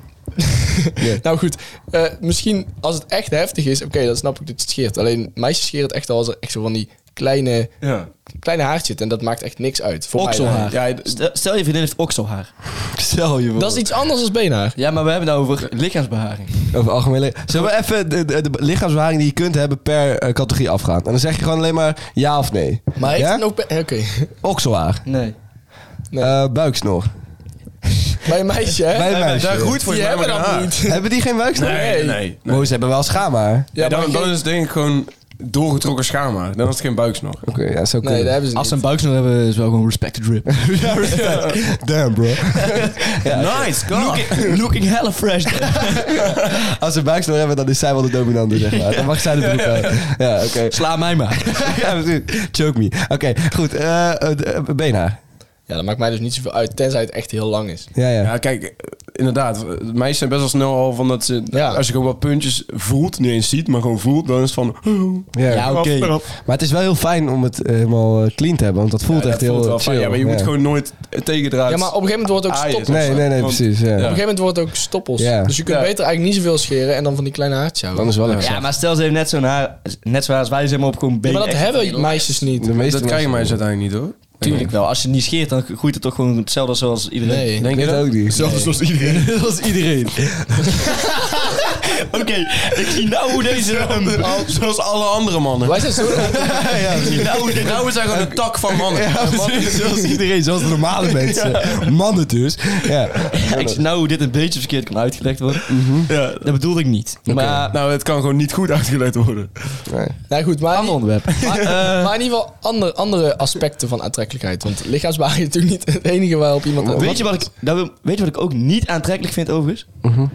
[SPEAKER 3] Nou goed, eh, misschien als het echt heftig is, oké, dan snap ik dat het scheert. Alleen meisjes scheren het echt al als er echt zo van die kleine,
[SPEAKER 4] Ja.
[SPEAKER 3] kleine haartjes zit. En dat maakt echt niks uit. Voor mij dan.
[SPEAKER 5] Okselhaar.
[SPEAKER 4] Ja,
[SPEAKER 5] Stel- Stel je vriendin heeft okselhaar.
[SPEAKER 2] Stel je
[SPEAKER 3] Dat is iets anders dan beenhaar.
[SPEAKER 5] Ja, maar we hebben het nou over lichaamsbeharing.
[SPEAKER 2] Over algemeen le- Zullen we even de, de, de lichaamsbeharing die je kunt hebben per eh, categorie afgaan? En dan zeg je gewoon alleen maar ja of nee.
[SPEAKER 3] Maar heeft
[SPEAKER 2] Ja?
[SPEAKER 3] het nog... be- Oké,
[SPEAKER 2] Okselhaar.
[SPEAKER 5] Nee.
[SPEAKER 3] Nee.
[SPEAKER 2] Eh, buiksnor.
[SPEAKER 3] bij een meisje hè?
[SPEAKER 2] Bij meisjes.
[SPEAKER 4] daar groeit voor
[SPEAKER 3] Die
[SPEAKER 4] je
[SPEAKER 3] hebben
[SPEAKER 4] maar
[SPEAKER 3] dat
[SPEAKER 4] haar.
[SPEAKER 3] niet.
[SPEAKER 2] Hebben die geen buiksnor?
[SPEAKER 4] Nee, nee.
[SPEAKER 2] Wow, ze hebben wel schaamhaar.
[SPEAKER 3] Ja,
[SPEAKER 4] dan,
[SPEAKER 3] maar
[SPEAKER 4] dan
[SPEAKER 3] geen-
[SPEAKER 4] is het denk ik gewoon doorgetrokken schaamhaar. Dan is het geen buiksnor.
[SPEAKER 2] Oké, ja, zo
[SPEAKER 3] Nee,
[SPEAKER 2] kunnen.
[SPEAKER 3] dat hebben ze niet.
[SPEAKER 5] Als ze een buiksnoer hebben, is wel gewoon respect to drip.
[SPEAKER 2] Damn, bro.
[SPEAKER 4] Nice, God.
[SPEAKER 5] Looking, looking hella fresh.
[SPEAKER 2] Als ze buiksnor hebben, dan is zij wel de dominante, zeg maar. Dan mag zij de broek uit. Ja, oké.
[SPEAKER 5] Sla mij maar.
[SPEAKER 2] ja, precies. Choke me. Oké, goed. eh, eh, d- eh, beenhaar.
[SPEAKER 3] Ja, dat maakt mij dus niet zoveel uit, tenzij het echt heel lang is.
[SPEAKER 2] Ja, ja.
[SPEAKER 4] Ja, kijk, eh, inderdaad. eh, Meisjes zijn best wel snel al van dat ze...
[SPEAKER 3] Ja.
[SPEAKER 4] Als je gewoon wat puntjes voelt, niet eens ziet, maar gewoon voelt, dan is het van...
[SPEAKER 2] ja.
[SPEAKER 5] Ja, oké.
[SPEAKER 2] Maar het is wel heel fijn om het eh, helemaal eh, clean te hebben, want dat voelt
[SPEAKER 4] Ja,
[SPEAKER 2] echt
[SPEAKER 4] dat
[SPEAKER 2] heel
[SPEAKER 4] voelt wel
[SPEAKER 2] chill.
[SPEAKER 4] fijn. Ja, maar je moet gewoon nooit eh, tegendraad.
[SPEAKER 3] Ja, maar op een gegeven moment wordt het ook
[SPEAKER 4] Ah, je-
[SPEAKER 3] stoppels.
[SPEAKER 4] Nee,
[SPEAKER 3] hè?
[SPEAKER 2] Nee, nee, nee,
[SPEAKER 4] Want-
[SPEAKER 2] precies. Ja.
[SPEAKER 4] Ja.
[SPEAKER 3] Op een gegeven moment wordt het ook stoppels.
[SPEAKER 2] Ja.
[SPEAKER 3] Dus je kunt
[SPEAKER 4] Ja.
[SPEAKER 3] beter eigenlijk niet zoveel scheren en dan van die kleine haartjes
[SPEAKER 2] Dan
[SPEAKER 3] houden.
[SPEAKER 2] is wel lekker.
[SPEAKER 5] Ja, maar stel ze heeft net zo'n haar, net zo haar als wij, zeg maar op gewoon
[SPEAKER 3] Ja,
[SPEAKER 5] benen.
[SPEAKER 3] maar dat
[SPEAKER 5] Echt.
[SPEAKER 3] hebben meisjes niet.
[SPEAKER 2] De meeste
[SPEAKER 4] Dat krijgen
[SPEAKER 2] mensen-
[SPEAKER 4] meisjes uiteindelijk niet, hoor.
[SPEAKER 5] Tuurlijk wel. Als je niet scheert, dan groeit het toch gewoon hetzelfde zoals iedereen.
[SPEAKER 3] Nee.
[SPEAKER 2] Denk
[SPEAKER 4] Denk
[SPEAKER 2] het
[SPEAKER 4] je
[SPEAKER 2] ook niet.
[SPEAKER 4] Zelfs als iedereen.
[SPEAKER 2] Zoals iedereen.
[SPEAKER 5] Oké, ik zie nou hoe deze... ehm,
[SPEAKER 3] Oh.
[SPEAKER 4] Zoals alle andere mannen.
[SPEAKER 3] Wij zijn zo...
[SPEAKER 5] ik zie nou hoe dit-
[SPEAKER 4] Vrouwen zijn gewoon een tak van mannen.
[SPEAKER 2] Zoals iedereen, zoals de normale mensen. Mannen dus. Ja.
[SPEAKER 5] Ja, ik zie nou hoe dit een beetje verkeerd kan uitgelegd worden. ja, dat bedoelde ik niet. Maar...
[SPEAKER 4] Nou, het kan gewoon niet goed uitgelegd worden.
[SPEAKER 3] nou goed, maar,
[SPEAKER 5] Ander onderwerp. Eh.
[SPEAKER 3] maar, maar in ieder geval ander, andere aspecten van aantrekkelijkheid. Want lichaamsbouw is natuurlijk niet het enige waarop iemand...
[SPEAKER 5] Weet je, Nou, wat ik, dat wil- weet je wat ik ook niet aantrekkelijk vind overigens?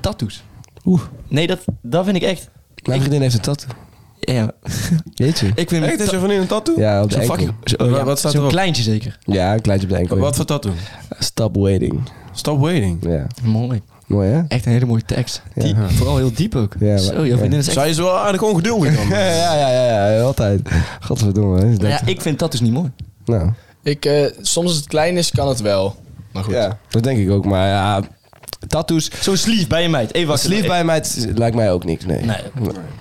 [SPEAKER 5] Tattoos.
[SPEAKER 2] Oeh,
[SPEAKER 5] Nee, dat, dat vind ik echt...
[SPEAKER 2] mijn vriendin heeft een tattoo.
[SPEAKER 5] Ja,
[SPEAKER 2] Weet je?
[SPEAKER 5] ik vind...
[SPEAKER 4] Echt, is je van in een tattoo?
[SPEAKER 2] Ja, op de
[SPEAKER 5] Zo'n
[SPEAKER 2] enkel.
[SPEAKER 5] fucking... zo- oh,
[SPEAKER 4] Wa-
[SPEAKER 5] ja,
[SPEAKER 4] wat staat
[SPEAKER 5] zo'n
[SPEAKER 4] erop?
[SPEAKER 5] kleintje zeker.
[SPEAKER 2] Ja, een kleintje op de enkel.
[SPEAKER 4] Wat voor tattoo?
[SPEAKER 2] Stop waiting.
[SPEAKER 4] Stop waiting.
[SPEAKER 2] Ja.
[SPEAKER 5] Mooi.
[SPEAKER 2] Mooi, hè?
[SPEAKER 5] Echt een hele mooie tekst. Die, Vooral heel diep ook.
[SPEAKER 2] Ja, maar-
[SPEAKER 5] Zo, jouw vriendin is echt...
[SPEAKER 4] Zij is wel aardig ongeduldig dan.
[SPEAKER 2] Ja, ja, ja, ja, ja, altijd. Godverdomme. Hè?
[SPEAKER 5] Nou ja, ik vind tattoos niet mooi.
[SPEAKER 2] Nou,
[SPEAKER 3] Ik, eh, soms als het klein is, kan het wel. Dus Maar goed.
[SPEAKER 2] ja, dat denk ik ook. Maar ja, tattoos.
[SPEAKER 5] Zo'n sleeve bij een meid. Even wakker.
[SPEAKER 2] Sleeve bij mij, het lijkt mij ook niks. Nee.
[SPEAKER 5] Nee.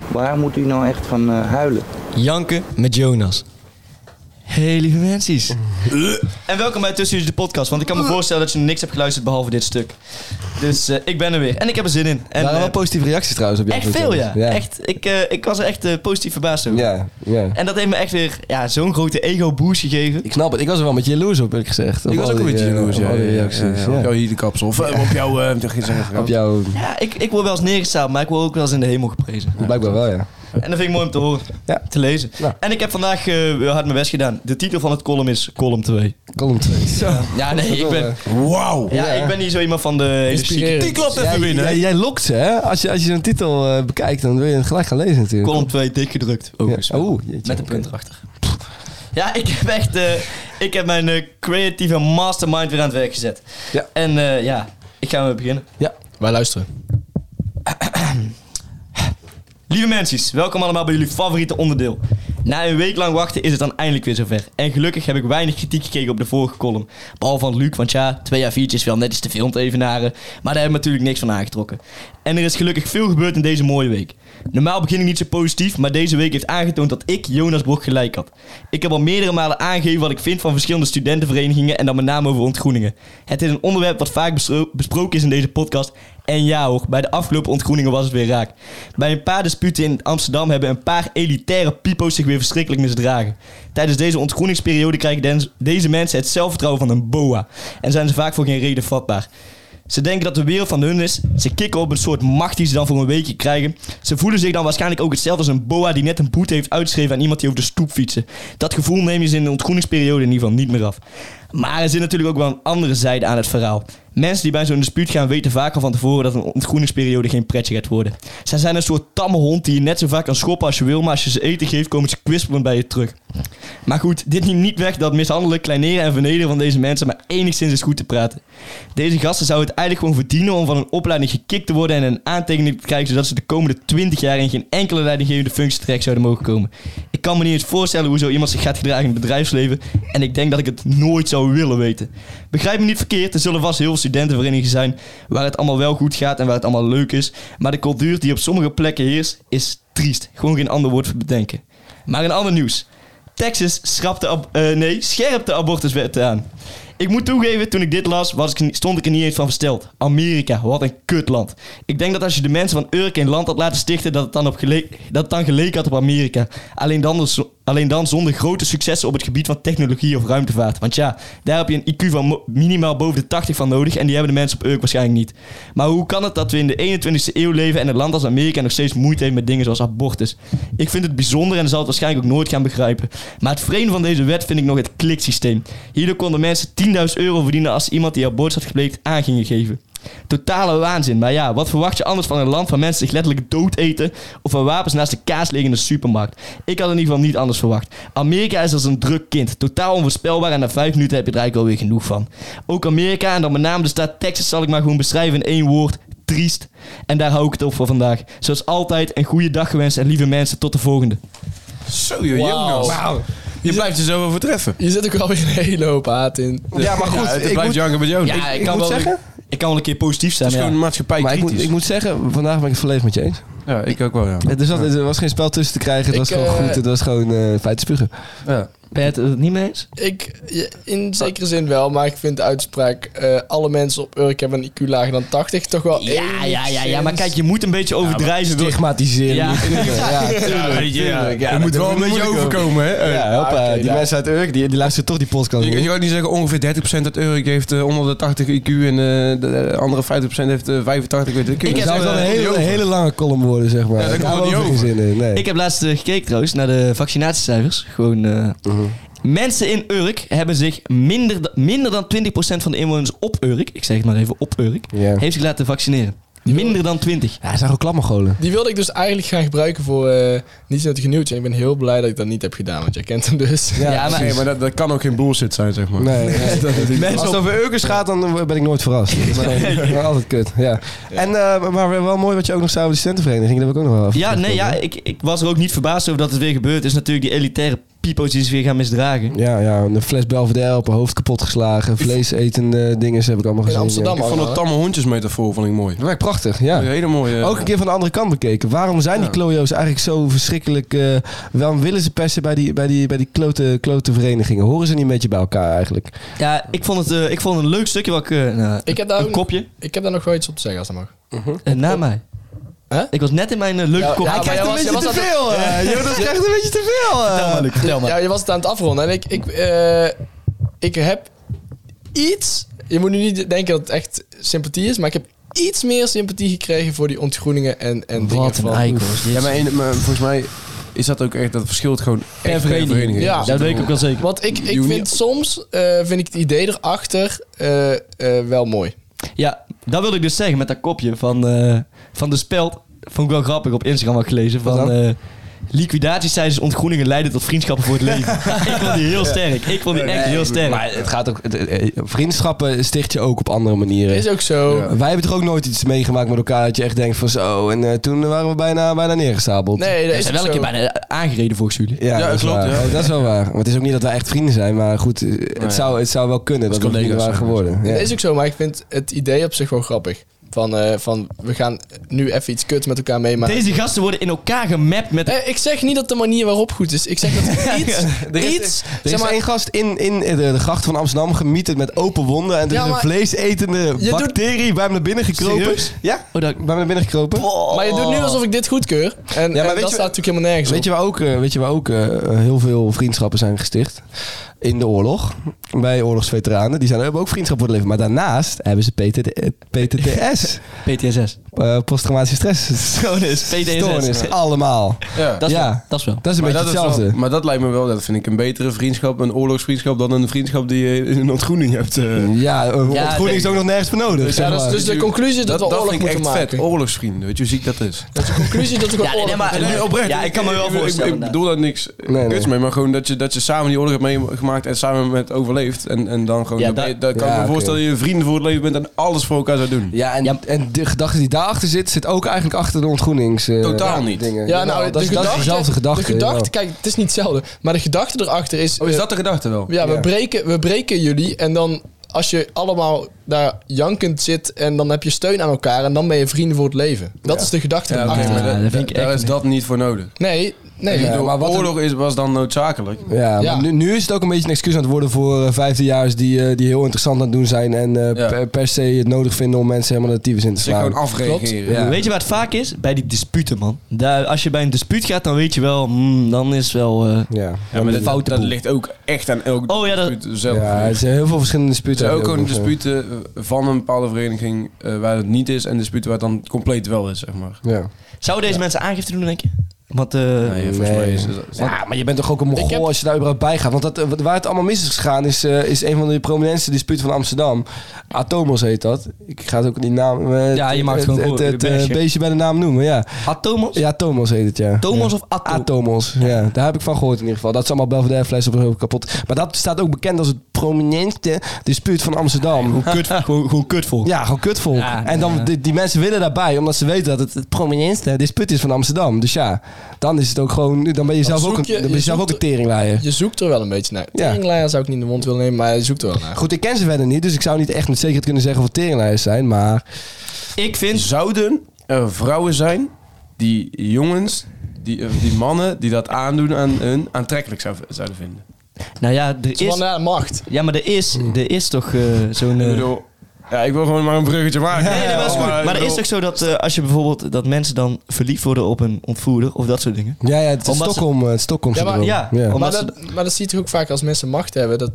[SPEAKER 6] Waar moet u nou echt van eh, huilen?
[SPEAKER 5] Janken met Jonas. Eh. Hey lieve mensen. en welkom bij Tussen Jullie de podcast. Want ik kan me voorstellen dat je niks hebt geluisterd behalve dit stuk. Dus eh, ik ben er weer. En ik heb er zin in. En,
[SPEAKER 2] En, waren wel
[SPEAKER 5] eh,
[SPEAKER 2] positieve reacties trouwens op jou.
[SPEAKER 5] echt veel ja.
[SPEAKER 2] Ja,
[SPEAKER 5] Echt, ik, eh, ik was er echt eh, positief verbaasd over.
[SPEAKER 2] ja. ja.
[SPEAKER 5] En dat heeft me echt weer ja, zo'n grote ego boost gegeven.
[SPEAKER 2] Ik snap het. Ik was er wel met jaloers op, eerlijk gezegd. Op
[SPEAKER 4] Ik was
[SPEAKER 2] al
[SPEAKER 4] ook een
[SPEAKER 2] die,
[SPEAKER 4] beetje
[SPEAKER 2] eh,
[SPEAKER 4] jaloers.
[SPEAKER 2] op
[SPEAKER 4] Ja,
[SPEAKER 2] al die
[SPEAKER 4] ja, ja,
[SPEAKER 2] reacties,
[SPEAKER 4] ja, ja.
[SPEAKER 2] ja.
[SPEAKER 4] Op jouw hielenkapsel. Of eh, op jouw... eh, ik zeg het
[SPEAKER 2] Op
[SPEAKER 4] gewoon.
[SPEAKER 2] jou,
[SPEAKER 5] Ja, ik, ik word wel eens neergestaan, maar ik word ook wel eens in de hemel geprezen.
[SPEAKER 2] blijkbaar wel, ja.
[SPEAKER 5] En dat vind ik mooi om te horen,
[SPEAKER 2] Ja.
[SPEAKER 5] te lezen.
[SPEAKER 2] Ja.
[SPEAKER 5] En ik heb vandaag eh, heel hard mijn best gedaan. De titel van het column is column 2.
[SPEAKER 2] Column 2.
[SPEAKER 5] Ja, nee, ik ben,
[SPEAKER 2] eh,
[SPEAKER 4] Wauw.
[SPEAKER 5] ja, ik ben niet zo iemand van de hele chique
[SPEAKER 4] Die klapt even binnen.
[SPEAKER 2] Jij, jij lokt ze, hè? Als je, als je zo'n titel eh, bekijkt, dan wil je het gelijk gaan lezen natuurlijk.
[SPEAKER 5] Column 2 dik gedrukt.
[SPEAKER 2] Ja.
[SPEAKER 5] overigens.
[SPEAKER 2] Oeh, jeetje.
[SPEAKER 5] Met een punt erachter. Ja, ik heb echt eh, ik heb mijn eh, creatieve mastermind weer aan het werk gezet.
[SPEAKER 2] Ja.
[SPEAKER 5] En eh, ja, ik ga weer beginnen.
[SPEAKER 3] Wij luisteren.
[SPEAKER 5] Lieve mensen, welkom allemaal bij jullie favoriete onderdeel. Na een week lang wachten is het dan eindelijk weer zover. En gelukkig heb ik weinig kritiek gekregen op de vorige column. Behalve van Luc, want ja, twee jaar viertjes is wel net iets te veel om te evenaren. Maar daar hebben we natuurlijk niks van aangetrokken. En er is gelukkig veel gebeurd in deze mooie week. Normaal begin ik niet zo positief, maar deze week heeft aangetoond dat ik, Jonas Brok, gelijk had. Ik heb al meerdere malen aangegeven wat ik vind van verschillende studentenverenigingen en dan met name over ontgroeningen. Het is een onderwerp wat vaak bestro- besproken is in deze podcast en ja hoor, bij de afgelopen ontgroeningen was het weer raak. Bij een paar disputen in Amsterdam hebben een paar elitaire pipo's zich weer verschrikkelijk misdragen. Tijdens deze ontgroeningsperiode krijgen den- deze mensen het zelfvertrouwen van een boa. En zijn ze vaak voor geen reden vatbaar. Ze denken dat de wereld van hun is. Ze kicken op een soort macht die ze dan voor een weekje krijgen. Ze voelen zich dan waarschijnlijk ook hetzelfde als een boa die net een boete heeft uitgeschreven aan iemand die over de stoep fietsen. Dat gevoel neem je ze in de ontgroeningsperiode in ieder geval niet meer af. Maar er zit natuurlijk ook wel een andere zijde aan het verhaal. Mensen die bij zo'n dispuut gaan weten vaak al van tevoren dat een ontgroeningsperiode geen pretje gaat worden. Zij zijn een soort tamme hond die je net zo vaak kan schoppen als je wil, maar als je ze eten geeft komen ze kwispelend bij je terug. Maar goed, dit neemt niet weg dat mishandelen, kleineren en vernederen van deze mensen maar enigszins is goed te praten. Deze gasten zouden het eigenlijk gewoon verdienen om van een opleiding gekikt te worden en een aantekening te krijgen zodat ze de komende 20 jaar in geen enkele leidinggevende functie terecht zouden mogen komen. Ik kan me niet eens voorstellen hoe zo iemand zich gaat gedragen in het bedrijfsleven en ik denk dat ik het nooit zou willen weten. Begrijp me niet verkeerd, er zullen vast heel veel studentenverenigingen zijn waar het allemaal wel goed gaat en waar het allemaal leuk is, maar de cultuur die op sommige plekken heerst is triest. Gewoon geen ander woord voor bedenken. Maar een ander nieuws. Texas schrapte ab- eh, nee, scherpte abortuswet aan. Ik moet toegeven, toen ik dit las, was ik, ni- stond ik er niet eens van versteld. Amerika, wat een kutland. Ik denk dat als je de mensen van Urk een land had laten stichten, dat het dan, op gele- dat het dan geleken had op Amerika. Alleen dan, dus- alleen dan zonder grote successen op het gebied van technologie of ruimtevaart. Want ja, daar heb je een IQ van mo- minimaal boven de 80 van nodig en die hebben de mensen op Urk waarschijnlijk niet. Maar hoe kan het dat we in de 21 e eeuw leven en een land als Amerika nog steeds moeite heeft met dingen zoals abortus? Ik vind het bijzonder en zal het waarschijnlijk ook nooit gaan begrijpen. Maar het vreemde van deze wet vind ik nog het kliksysteem. Hierdoor konden mensen 10.000 euro verdienen als ze iemand die abortus had gepleegd aan gingen geven. Totale waanzin, maar ja, wat verwacht je anders van een land waar mensen zich letterlijk dood eten of waar wapens naast de kaas liggen in de supermarkt? Ik had in ieder geval niet anders verwacht. Amerika is als een druk kind, totaal onvoorspelbaar en na vijf minuten heb je er eigenlijk alweer genoeg van. Ook Amerika en dan met name de staat Texas zal ik maar gewoon beschrijven in één woord, triest. En daar hou ik het op voor vandaag. Zoals altijd, een goede dag gewenst en lieve mensen, tot de volgende.
[SPEAKER 4] Zo joh,
[SPEAKER 3] Wauw.
[SPEAKER 4] Jonas. Je blijft er zo overtreffen.
[SPEAKER 3] Je zit ook alweer een hele hoop haat in.
[SPEAKER 2] Ja, maar goed,
[SPEAKER 4] het
[SPEAKER 2] ik
[SPEAKER 4] blijft
[SPEAKER 2] moet-
[SPEAKER 4] janken met jou.
[SPEAKER 5] Ja, ik, kan
[SPEAKER 2] moet
[SPEAKER 5] wel
[SPEAKER 2] zeggen-
[SPEAKER 5] ik kan wel een keer
[SPEAKER 4] Het
[SPEAKER 5] positief zijn.
[SPEAKER 4] is
[SPEAKER 5] maar ja.
[SPEAKER 4] gewoon maatschappij
[SPEAKER 2] Maar ik
[SPEAKER 4] kritisch.
[SPEAKER 2] moet, ik moet zeggen, vandaag ben ik het volledig met je eens.
[SPEAKER 4] Ja, ik ook wel, ja.
[SPEAKER 2] Er, zat, er was geen spel tussen te krijgen. Het
[SPEAKER 3] Ik,
[SPEAKER 2] was gewoon
[SPEAKER 3] eh,
[SPEAKER 2] goed. Het was gewoon eh feit spugen.
[SPEAKER 4] ja.
[SPEAKER 5] Ben je het er niet mee eens?
[SPEAKER 3] Dus Ik, ja, in zekere zin wel, maar ik vind de uitspraak... eh, alle mensen op Urk hebben een IQ lager dan 80 toch wel
[SPEAKER 5] Ja, ja, ja, ja. Maar kijk, je moet een beetje overdrijven. door-
[SPEAKER 2] Stigmatiseren.
[SPEAKER 5] Ja.
[SPEAKER 2] moet kunnen. Ja, tuurlijk, tuurlijk. Ja,
[SPEAKER 4] je moet
[SPEAKER 2] dat
[SPEAKER 4] wel een
[SPEAKER 2] doe ik
[SPEAKER 4] beetje
[SPEAKER 2] ook.
[SPEAKER 4] overkomen, hè? Eh,
[SPEAKER 2] Ja, hoppa,
[SPEAKER 3] oké,
[SPEAKER 2] die
[SPEAKER 3] ja.
[SPEAKER 2] mensen uit Urk, die, die luisteren toch die podcast
[SPEAKER 4] Je, je
[SPEAKER 2] niet.
[SPEAKER 4] kan ook niet zeggen ongeveer 30% uit Urk heeft eh, onder de 80 IQ en eh, de, de andere 50% heeft eh, 85. Weet ik,
[SPEAKER 5] Ik
[SPEAKER 2] Het
[SPEAKER 5] heb,
[SPEAKER 2] zou
[SPEAKER 5] eh,
[SPEAKER 2] dan een hele,
[SPEAKER 4] over.
[SPEAKER 2] hele lange column worden, zeg maar.
[SPEAKER 4] Ja, daar
[SPEAKER 2] Daar
[SPEAKER 4] komt
[SPEAKER 2] hebben
[SPEAKER 4] het
[SPEAKER 2] we ook
[SPEAKER 4] niet
[SPEAKER 2] geen zin in. Nee.
[SPEAKER 5] Ik heb laatst eh, gekeken trouwens naar de vaccinatiecijfers. Gewoon. eh,
[SPEAKER 2] Mhm.
[SPEAKER 5] Mensen in Urk hebben zich minder, da- minder dan 20% van de inwoners op Urk, ik zeg het maar even op Urk,
[SPEAKER 2] Ja.
[SPEAKER 5] heeft zich laten vaccineren. Minder dan 20.
[SPEAKER 2] Ja, hij zijn ook klammergolen.
[SPEAKER 3] Die wilde ik dus eigenlijk gaan gebruiken voor eh niet nuttig nieuwtje. En ik ben heel blij dat ik dat niet heb gedaan, want jij kent hem dus.
[SPEAKER 2] Ja,
[SPEAKER 5] Ja, maar-
[SPEAKER 4] Nee, maar dat, dat kan ook geen bullshit zijn, zeg maar.
[SPEAKER 2] Nee, nee.
[SPEAKER 5] Mensen
[SPEAKER 2] Als het
[SPEAKER 5] op-
[SPEAKER 2] over Urkers gaat, dan ben ik nooit verrast. Dat is gewoon- maar altijd kut, ja. En, eh, maar wel mooi wat je ook nog zei over de studentenvereniging. Dat heb ik ook nog wel even
[SPEAKER 5] Ja, nee, ja, ik, ik was er ook niet verbaasd over dat het weer gebeurd is. Natuurlijk die elitaire pipo's die zich weer gaan misdragen.
[SPEAKER 2] Ja, ja, een fles Belvedere op een hoofd kapot geslagen. Vlees etende dingen heb ik allemaal gezien.
[SPEAKER 3] Amsterdam,
[SPEAKER 2] ja.
[SPEAKER 4] Ik vond het tamme hondjes metafoor vond ik mooi.
[SPEAKER 2] Dat werkt prachtig, ja.
[SPEAKER 4] Een hele mooie...
[SPEAKER 2] Ook een keer van de andere kant bekeken. Waarom zijn die
[SPEAKER 4] Ja.
[SPEAKER 2] klojo's eigenlijk zo verschrikkelijk... eh, waarom willen ze persen bij die, bij die, bij die klote, klote verenigingen? Horen ze niet een beetje bij elkaar eigenlijk?
[SPEAKER 5] Ja, ik vond het, eh, ik vond het een leuk stukje. Wat ik, eh, nou,
[SPEAKER 3] Ik heb daar
[SPEAKER 5] een
[SPEAKER 3] ook-
[SPEAKER 5] kopje
[SPEAKER 3] Ik heb daar nog wel iets op te zeggen als dat mag.
[SPEAKER 5] eh, na mij.
[SPEAKER 3] Huh?
[SPEAKER 5] Ik was net in mijn eh, leuke
[SPEAKER 3] Ja,
[SPEAKER 5] kopje.
[SPEAKER 3] ja,
[SPEAKER 5] Hij
[SPEAKER 3] maar
[SPEAKER 5] krijgt
[SPEAKER 3] jij
[SPEAKER 5] een
[SPEAKER 3] was-
[SPEAKER 5] beetje
[SPEAKER 3] jij
[SPEAKER 5] te
[SPEAKER 3] was
[SPEAKER 5] veel. eh.
[SPEAKER 2] Jonas krijgt een beetje te veel.
[SPEAKER 5] Vertel maar, Luc, vertel maar.
[SPEAKER 3] Ja, je was het aan het afronden. En ik, ik, eh, ik heb iets... Je moet nu niet denken dat het echt sympathie is, maar ik heb iets meer sympathie gekregen voor die ontgroeningen en, en dingen.
[SPEAKER 5] Wat een
[SPEAKER 3] van-
[SPEAKER 5] eikels.
[SPEAKER 4] Ja, maar, in- maar volgens mij is dat ook echt... Dat verschilt gewoon echt per
[SPEAKER 5] vereniging.
[SPEAKER 4] vereniging.
[SPEAKER 3] Ja.
[SPEAKER 5] dat weet ik ook wel zeker.
[SPEAKER 3] Want ik,
[SPEAKER 4] Je
[SPEAKER 3] ik
[SPEAKER 4] hoeft
[SPEAKER 3] vind
[SPEAKER 4] niet-
[SPEAKER 3] soms, eh, vind ik het idee erachter eh, eh, wel mooi.
[SPEAKER 5] Ja, dat wil ik dus zeggen met dat kopje van, eh, van de speld. Vond ik wel grappig op Instagram had ik gelezen.
[SPEAKER 2] Wat
[SPEAKER 5] Van
[SPEAKER 2] dan?
[SPEAKER 5] eh liquidatiecijfers ontgroeningen leiden tot vriendschappen voor het leven. ik vond die heel sterk. Ik vond die echt heel sterk.
[SPEAKER 2] Maar het gaat ook... het- eh, Vriendschappen sticht je ook op andere manieren.
[SPEAKER 3] Is ook zo.
[SPEAKER 4] Ja.
[SPEAKER 2] Wij hebben toch ook nooit iets meegemaakt met elkaar dat je echt denkt van zo. En eh, toen waren we bijna, bijna neergestapeld.
[SPEAKER 3] Nee, dat
[SPEAKER 5] We
[SPEAKER 3] is
[SPEAKER 5] zijn
[SPEAKER 3] ook
[SPEAKER 5] wel een keer
[SPEAKER 3] zo.
[SPEAKER 5] bijna eh, aangereden volgens jullie.
[SPEAKER 2] Ja,
[SPEAKER 4] Ja,
[SPEAKER 2] dat is
[SPEAKER 4] klopt,
[SPEAKER 2] waar.
[SPEAKER 4] ja.
[SPEAKER 2] Eh, Dat is wel waar. Maar het is ook niet dat wij echt vrienden zijn, maar goed, eh, het,
[SPEAKER 4] Nee.
[SPEAKER 2] zou, het zou wel kunnen
[SPEAKER 4] Als
[SPEAKER 2] dat we vrienden
[SPEAKER 4] collega's
[SPEAKER 2] waren
[SPEAKER 4] zijn
[SPEAKER 2] geworden. Ja.
[SPEAKER 3] Dat is ook zo, maar ik vind het idee op zich wel grappig. Van, eh, van we gaan nu even iets kuts met elkaar meemaken.
[SPEAKER 5] Deze gasten worden in elkaar gemapt met...
[SPEAKER 3] Eh, ik zeg niet dat de manier waarop goed is. Ik zeg dat het iets,
[SPEAKER 2] Er is,
[SPEAKER 3] iets
[SPEAKER 2] er is
[SPEAKER 3] zeg maar,
[SPEAKER 2] één gast in, in eh, de, de gracht van Amsterdam gemieterd met open wonden. En er
[SPEAKER 3] Ja,
[SPEAKER 2] is een
[SPEAKER 3] maar-
[SPEAKER 2] vleesetende
[SPEAKER 3] doet-
[SPEAKER 2] bacterie bij hem naar binnen gekropen.
[SPEAKER 5] Serieus?
[SPEAKER 2] Ja,
[SPEAKER 5] Oh, dat...
[SPEAKER 2] bij hem naar binnen gekropen.
[SPEAKER 3] maar je
[SPEAKER 5] Oh.
[SPEAKER 3] doet nu alsof ik dit goedkeur. En,
[SPEAKER 2] maar
[SPEAKER 3] en
[SPEAKER 2] weet
[SPEAKER 3] dat
[SPEAKER 2] je-
[SPEAKER 3] staat natuurlijk helemaal nergens
[SPEAKER 2] Weet je waar ook, eh, weet je waar ook eh, heel veel vriendschappen zijn gesticht? In de oorlog. Bij oorlogsveteranen. Die zijn, hebben ook vriendschappen voor het leven. Maar daarnaast hebben ze PTT, eh, PTTS.
[SPEAKER 5] PTSS.
[SPEAKER 2] eh, posttraumatische stress.
[SPEAKER 5] Stoornis. PTSS.
[SPEAKER 2] Stoornis. Allemaal.
[SPEAKER 4] Ja.
[SPEAKER 5] Dat is,
[SPEAKER 2] Ja.
[SPEAKER 5] wel, dat is wel.
[SPEAKER 2] Dat is een
[SPEAKER 4] maar
[SPEAKER 2] beetje
[SPEAKER 4] dat is wel-
[SPEAKER 2] hetzelfde.
[SPEAKER 4] maar dat lijkt me wel, dat vind ik een betere vriendschap, een oorlogsvriendschap, dan een vriendschap die je in een ontgroening hebt. eh.
[SPEAKER 2] ja, een
[SPEAKER 5] Ja,
[SPEAKER 2] ontgroening is ook nog nergens voor nodig.
[SPEAKER 4] Dus
[SPEAKER 2] zeg
[SPEAKER 3] ja, dat is
[SPEAKER 2] maar.
[SPEAKER 3] dus de conclusie is dat,
[SPEAKER 4] dat
[SPEAKER 3] we oorlog
[SPEAKER 4] vind ik
[SPEAKER 3] moeten
[SPEAKER 4] echt
[SPEAKER 3] maken.
[SPEAKER 4] vet. Oorlogsvrienden, weet je hoe ziek dat is?
[SPEAKER 3] Dat is de conclusie is dat we gewoon
[SPEAKER 5] Ja, nee,
[SPEAKER 3] oorlog
[SPEAKER 5] maar-
[SPEAKER 3] moeten maken.
[SPEAKER 4] Nee, oprecht.
[SPEAKER 5] Ja, ik kan me wel
[SPEAKER 4] Ik- ik-
[SPEAKER 5] voorstellen,
[SPEAKER 4] Ik, ik
[SPEAKER 5] inderdaad.
[SPEAKER 4] bedoel daar niks
[SPEAKER 2] Nee,
[SPEAKER 4] kuts
[SPEAKER 2] nee.
[SPEAKER 4] mee, maar gewoon dat je, dat je samen die oorlog hebt meegemaakt en samen met overleeft. En, en dan gewoon,
[SPEAKER 5] Ja,
[SPEAKER 4] dan
[SPEAKER 5] dat-
[SPEAKER 4] ben je- dan kan
[SPEAKER 2] ja,
[SPEAKER 4] ik me
[SPEAKER 2] oké.
[SPEAKER 4] voorstellen dat je vrienden voor het leven bent en alles voor elkaar zou doen.
[SPEAKER 2] Ja, en,
[SPEAKER 5] Ja.
[SPEAKER 2] en de gedachte die daarachter zit, zit ook eigenlijk achter de ontgroenings. eh,
[SPEAKER 4] Totaal niet.
[SPEAKER 2] Dingen.
[SPEAKER 3] Ja, nou,
[SPEAKER 2] dat, is-
[SPEAKER 3] de
[SPEAKER 2] dat
[SPEAKER 3] gedachte,
[SPEAKER 2] is dezelfde gedachte.
[SPEAKER 3] De gedachte,
[SPEAKER 2] ja.
[SPEAKER 3] kijk, het is niet hetzelfde. Maar de gedachte erachter is...
[SPEAKER 4] Oh, is
[SPEAKER 3] eh,
[SPEAKER 4] dat de gedachte wel?
[SPEAKER 3] Ja, we,
[SPEAKER 2] Ja.
[SPEAKER 3] Breken, we breken jullie en dan als je allemaal daar jankend zit en dan heb je steun aan elkaar en dan ben je vrienden voor het leven. Dat is de gedachte
[SPEAKER 4] Ja, oké,
[SPEAKER 3] erachter.
[SPEAKER 4] maar
[SPEAKER 5] Ja,
[SPEAKER 4] dat-
[SPEAKER 5] dat vind ik
[SPEAKER 4] daar
[SPEAKER 5] echt
[SPEAKER 4] is
[SPEAKER 5] niet.
[SPEAKER 4] dat niet voor nodig.
[SPEAKER 3] Nee, nee.
[SPEAKER 2] Ja,
[SPEAKER 4] Ja,
[SPEAKER 2] maar wat een-
[SPEAKER 4] oorlog is, was dan noodzakelijk.
[SPEAKER 2] Ja,
[SPEAKER 3] Ja.
[SPEAKER 2] maar nu, nu is het ook een beetje een excuus aan het worden voor eh, vijfdejaars die, eh, die heel interessant aan het doen zijn. En eh,
[SPEAKER 4] Ja.
[SPEAKER 2] per, per se het nodig vinden om mensen helemaal de tyfus in te
[SPEAKER 4] Zich
[SPEAKER 2] slaan.
[SPEAKER 4] gewoon afreageren.
[SPEAKER 2] Ja.
[SPEAKER 5] Weet je waar het vaak is? Bij die disputen, man. Daar, als je bij een dispuut gaat, dan weet je wel... hmm, dan is wel... eh,
[SPEAKER 2] Ja.
[SPEAKER 4] Ja, maar dat, dat,
[SPEAKER 5] foute
[SPEAKER 4] dat
[SPEAKER 5] boel.
[SPEAKER 4] ligt ook echt aan elk
[SPEAKER 5] Oh, ja, dat-
[SPEAKER 4] dispuut zelf.
[SPEAKER 2] ja, er
[SPEAKER 4] het
[SPEAKER 2] zijn heel veel verschillende disputen.
[SPEAKER 4] is ook gewoon
[SPEAKER 2] Ja.
[SPEAKER 4] disputen eh, van een bepaalde vereniging eh, waar het niet is en disputen waar het dan compleet wel is, zeg maar.
[SPEAKER 2] Ja.
[SPEAKER 5] Zouden deze mensen aangifte doen, denk je? Want eh,
[SPEAKER 4] Nee,
[SPEAKER 2] nee.
[SPEAKER 4] volgens mij is het...
[SPEAKER 2] Ja, maar je bent toch ook een
[SPEAKER 3] Ik
[SPEAKER 2] mogol
[SPEAKER 3] heb-
[SPEAKER 2] als je daar überhaupt bij gaat. Want dat, eh, wat- waar het allemaal mis is gegaan, is, eh, is een van de prominentste disputen van Amsterdam. Atomos heet dat. Ik ga het ook die naam... eh,
[SPEAKER 5] Ja, je maakt
[SPEAKER 2] het,
[SPEAKER 5] gewoon
[SPEAKER 2] het,
[SPEAKER 5] voor-
[SPEAKER 2] het, het, eh,
[SPEAKER 5] beestje.
[SPEAKER 2] beestje bij de naam noemen, ja.
[SPEAKER 5] Atomos?
[SPEAKER 2] Ja, Tomos heet het, ja.
[SPEAKER 5] Tomos
[SPEAKER 2] Ja.
[SPEAKER 5] of Ato?
[SPEAKER 2] Atomos, ja. Daar heb ik van gehoord in ieder geval. Dat is allemaal Belvedere fles op de hoofd kapot. Maar dat staat ook bekend als het prominentste dispuut van Amsterdam.
[SPEAKER 5] Kut, gewoon, gewoon kut volk.
[SPEAKER 2] Ja, gewoon kutvolk.
[SPEAKER 5] Ja,
[SPEAKER 2] en dan,
[SPEAKER 5] ja.
[SPEAKER 2] die, die mensen willen daarbij, omdat ze weten dat het het prominentste dispuut is van Amsterdam. Dus ja, dan is het ook gewoon... Dan ben je zelf
[SPEAKER 3] zoek
[SPEAKER 2] ook een,
[SPEAKER 3] je-
[SPEAKER 2] dan ben je
[SPEAKER 3] je
[SPEAKER 2] zelf ook
[SPEAKER 3] zoekt-
[SPEAKER 2] een teringlaaier.
[SPEAKER 3] Je zoekt er wel een beetje naar.
[SPEAKER 2] Ja.
[SPEAKER 3] Teringleier zou ik niet in de mond willen nemen, maar je zoekt er wel naar.
[SPEAKER 2] Goed, ik ken ze verder niet, dus ik zou niet echt met zekerheid kunnen zeggen of het teringlijers zijn, maar...
[SPEAKER 5] Ik vind...
[SPEAKER 4] Zouden er vrouwen zijn die jongens, die, eh, die mannen die dat aandoen aan hun, aantrekkelijk zou, zouden vinden.
[SPEAKER 5] Nou ja, er
[SPEAKER 3] Van
[SPEAKER 5] is...
[SPEAKER 3] ja, macht.
[SPEAKER 5] Ja, maar er is, er is toch eh, zo'n...
[SPEAKER 4] Ik
[SPEAKER 5] eh,
[SPEAKER 4] bedoel, ja, ik wil gewoon maar een bruggetje maken.
[SPEAKER 5] Nee, nee, maar dat is goed. Maar
[SPEAKER 4] ik
[SPEAKER 5] er is
[SPEAKER 4] bedoel-
[SPEAKER 5] toch zo dat eh, als je bijvoorbeeld dat mensen dan verliefd worden op een ontvoerder of dat soort dingen.
[SPEAKER 2] Ja, ja, het is
[SPEAKER 5] Omdat ze-
[SPEAKER 2] Stockholm, eh, het Stockholm
[SPEAKER 3] Ja, maar-
[SPEAKER 2] syndroom.
[SPEAKER 5] ja.
[SPEAKER 2] ja.
[SPEAKER 5] Om-
[SPEAKER 3] Maar
[SPEAKER 5] Omdat ze-
[SPEAKER 3] dat, maar dat zie je toch ook vaak als mensen macht hebben. Dat,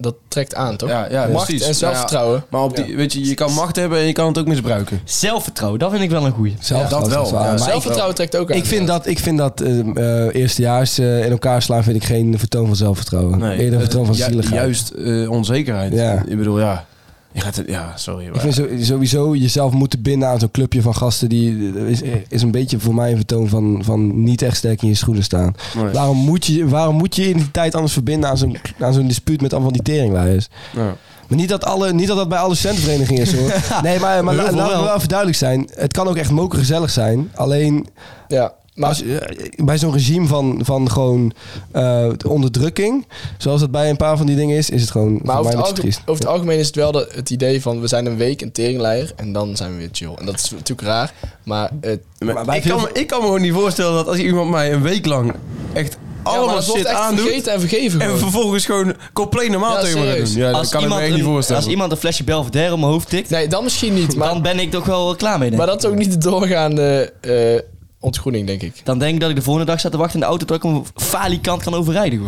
[SPEAKER 3] dat trekt aan, toch?
[SPEAKER 4] Ja, ja,
[SPEAKER 3] macht
[SPEAKER 4] precies.
[SPEAKER 3] en zelfvertrouwen.
[SPEAKER 4] Maar op die, weet je, je kan macht hebben en je kan het ook misbruiken.
[SPEAKER 5] Zelfvertrouwen, dat vind ik wel een goeie.
[SPEAKER 2] Zelf
[SPEAKER 4] Ja, dat
[SPEAKER 2] is
[SPEAKER 4] wel.
[SPEAKER 2] zwaar,
[SPEAKER 4] Ja,
[SPEAKER 2] maar
[SPEAKER 4] zelf-
[SPEAKER 3] zelfvertrouwen trekt ook
[SPEAKER 2] ik,
[SPEAKER 3] aan.
[SPEAKER 2] ik vind dat, ik vind dat ehm, eh, eerstejaars eh, in elkaar slaan vind ik geen vertoon van zelfvertrouwen. Eerder een
[SPEAKER 4] het-
[SPEAKER 2] vertoon van
[SPEAKER 4] ju-
[SPEAKER 2] zieligheid.
[SPEAKER 4] Juist eh, onzekerheid.
[SPEAKER 2] Ja.
[SPEAKER 4] Ik bedoel, ja. Je gaat het, ja, sorry.
[SPEAKER 2] Ik
[SPEAKER 4] maar-
[SPEAKER 2] vind zo- sowieso jezelf moeten binden aan zo'n clubje van gasten. Die eh, is, is een beetje voor mij een vertoon van, van niet echt sterk in je schoenen staan.
[SPEAKER 4] Nee.
[SPEAKER 2] Waarom moet je waarom moet je je identiteit anders verbinden aan zo'n, aan zo'n dispuut met allemaal die teringlaaiers?
[SPEAKER 4] Ja.
[SPEAKER 2] Maar niet dat, alle, niet dat dat bij alle studentenverenigingen is hoor. Nee, maar, maar
[SPEAKER 5] Heel
[SPEAKER 2] la-
[SPEAKER 5] veel
[SPEAKER 2] laten we
[SPEAKER 5] wel.
[SPEAKER 2] wel even duidelijk zijn. Het kan ook echt mokergezellig zijn. Alleen
[SPEAKER 3] Ja, maar
[SPEAKER 2] als, eh, bij zo'n regime van, van gewoon eh, onderdrukking, zoals het bij een paar van die dingen is, is het gewoon
[SPEAKER 3] Maar
[SPEAKER 2] voor mij
[SPEAKER 3] over het,
[SPEAKER 2] een beetje
[SPEAKER 3] algemeen,
[SPEAKER 2] triest.
[SPEAKER 3] over het algemeen is het wel dat, het idee van we zijn een week een teringleier en dan zijn we weer chill. En dat is natuurlijk raar, maar het,
[SPEAKER 4] Maar
[SPEAKER 2] wij
[SPEAKER 4] ik, kan, me-
[SPEAKER 2] vinden-
[SPEAKER 4] ik kan me gewoon niet voorstellen dat als iemand mij een week lang echt
[SPEAKER 3] Ja, maar
[SPEAKER 4] allemaal
[SPEAKER 3] het wordt
[SPEAKER 4] shit
[SPEAKER 3] echt
[SPEAKER 4] aandoet.
[SPEAKER 3] vergeten en vergeven
[SPEAKER 4] En
[SPEAKER 3] gewoon.
[SPEAKER 4] vervolgens gewoon compleet normaal
[SPEAKER 3] Ja,
[SPEAKER 4] tegen me gaat
[SPEAKER 3] serieus.
[SPEAKER 4] doen. Ja, dat
[SPEAKER 5] als,
[SPEAKER 4] kan ik me
[SPEAKER 5] iemand
[SPEAKER 4] echt
[SPEAKER 5] een,
[SPEAKER 4] niet voorstellen.
[SPEAKER 5] als iemand een flesje Belvedere om mijn hoofd tikt,
[SPEAKER 3] Nee, dan misschien niet, maar,
[SPEAKER 5] dan ben ik toch wel klaar mee. Denk. ik.
[SPEAKER 3] maar dat is ook niet de doorgaande eh, ontgroening, denk ik.
[SPEAKER 5] Dan denk ik dat ik de volgende dag sta te wachten in de auto dat ik hem falikant kan overrijden.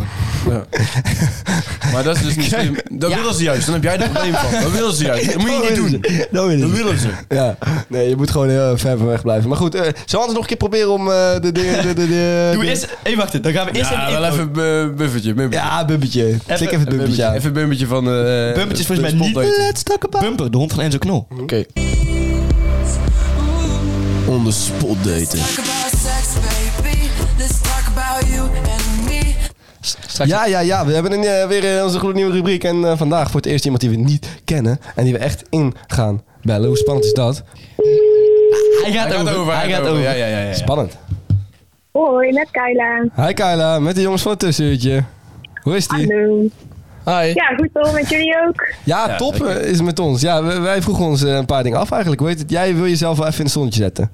[SPEAKER 5] Gewoon.
[SPEAKER 4] Maar dat is dus niet slim. Dat
[SPEAKER 5] Ja.
[SPEAKER 4] willen ze juist. Dan heb jij er probleem van. Dat willen ze juist. Dat moet je niet doen.
[SPEAKER 2] Dat willen
[SPEAKER 4] Dat
[SPEAKER 2] ze.
[SPEAKER 4] willen ze.
[SPEAKER 2] Ja, nee, je moet gewoon heel ver van weg blijven. Maar goed, eh zullen we anders nog een keer proberen om eh, de dingen... De, de, de,
[SPEAKER 5] Doe
[SPEAKER 2] de-
[SPEAKER 5] eerst, even wachten, dan gaan we eerst
[SPEAKER 4] Ja,
[SPEAKER 5] even
[SPEAKER 4] wel
[SPEAKER 5] in.
[SPEAKER 4] even eh, buffertje. bumpertje.
[SPEAKER 2] Ja, bubbetje. Klik even het bubbetje aan.
[SPEAKER 4] Even een bumpertje van... eh
[SPEAKER 5] Bumpertje is volgens mij
[SPEAKER 4] de
[SPEAKER 5] niet-
[SPEAKER 4] spotdate.
[SPEAKER 2] Let's talk about...
[SPEAKER 5] Bumper, de hond van Enzo Knol.
[SPEAKER 4] Hm?
[SPEAKER 3] Oké.
[SPEAKER 4] Onder spotdaten.
[SPEAKER 7] talk about sex, baby. Let's talk about you and me.
[SPEAKER 5] Straks
[SPEAKER 2] Ja, ja, ja. We hebben een, eh, weer eh, onze gloednieuwe rubriek. En eh, vandaag voor het eerst iemand die we niet kennen. En die we echt in gaan bellen. Hoe spannend is dat?
[SPEAKER 5] Hij gaat,
[SPEAKER 4] Hij gaat over.
[SPEAKER 5] Hij gaat over.
[SPEAKER 4] Ja, ja, ja. ja, ja.
[SPEAKER 2] Spannend.
[SPEAKER 8] Hoi, met Kyla.
[SPEAKER 2] Hi Kyla, met de jongens van het tussenuurtje. Hoe is die?
[SPEAKER 8] Hallo.
[SPEAKER 3] Hi.
[SPEAKER 8] Ja, goed toch met jullie ook?
[SPEAKER 2] Ja, top eh, is het met ons. Ja, wij, wij vroegen ons eh, een paar dingen af eigenlijk. Hoe heet het? Jij wil jezelf wel even in het zonnetje zetten.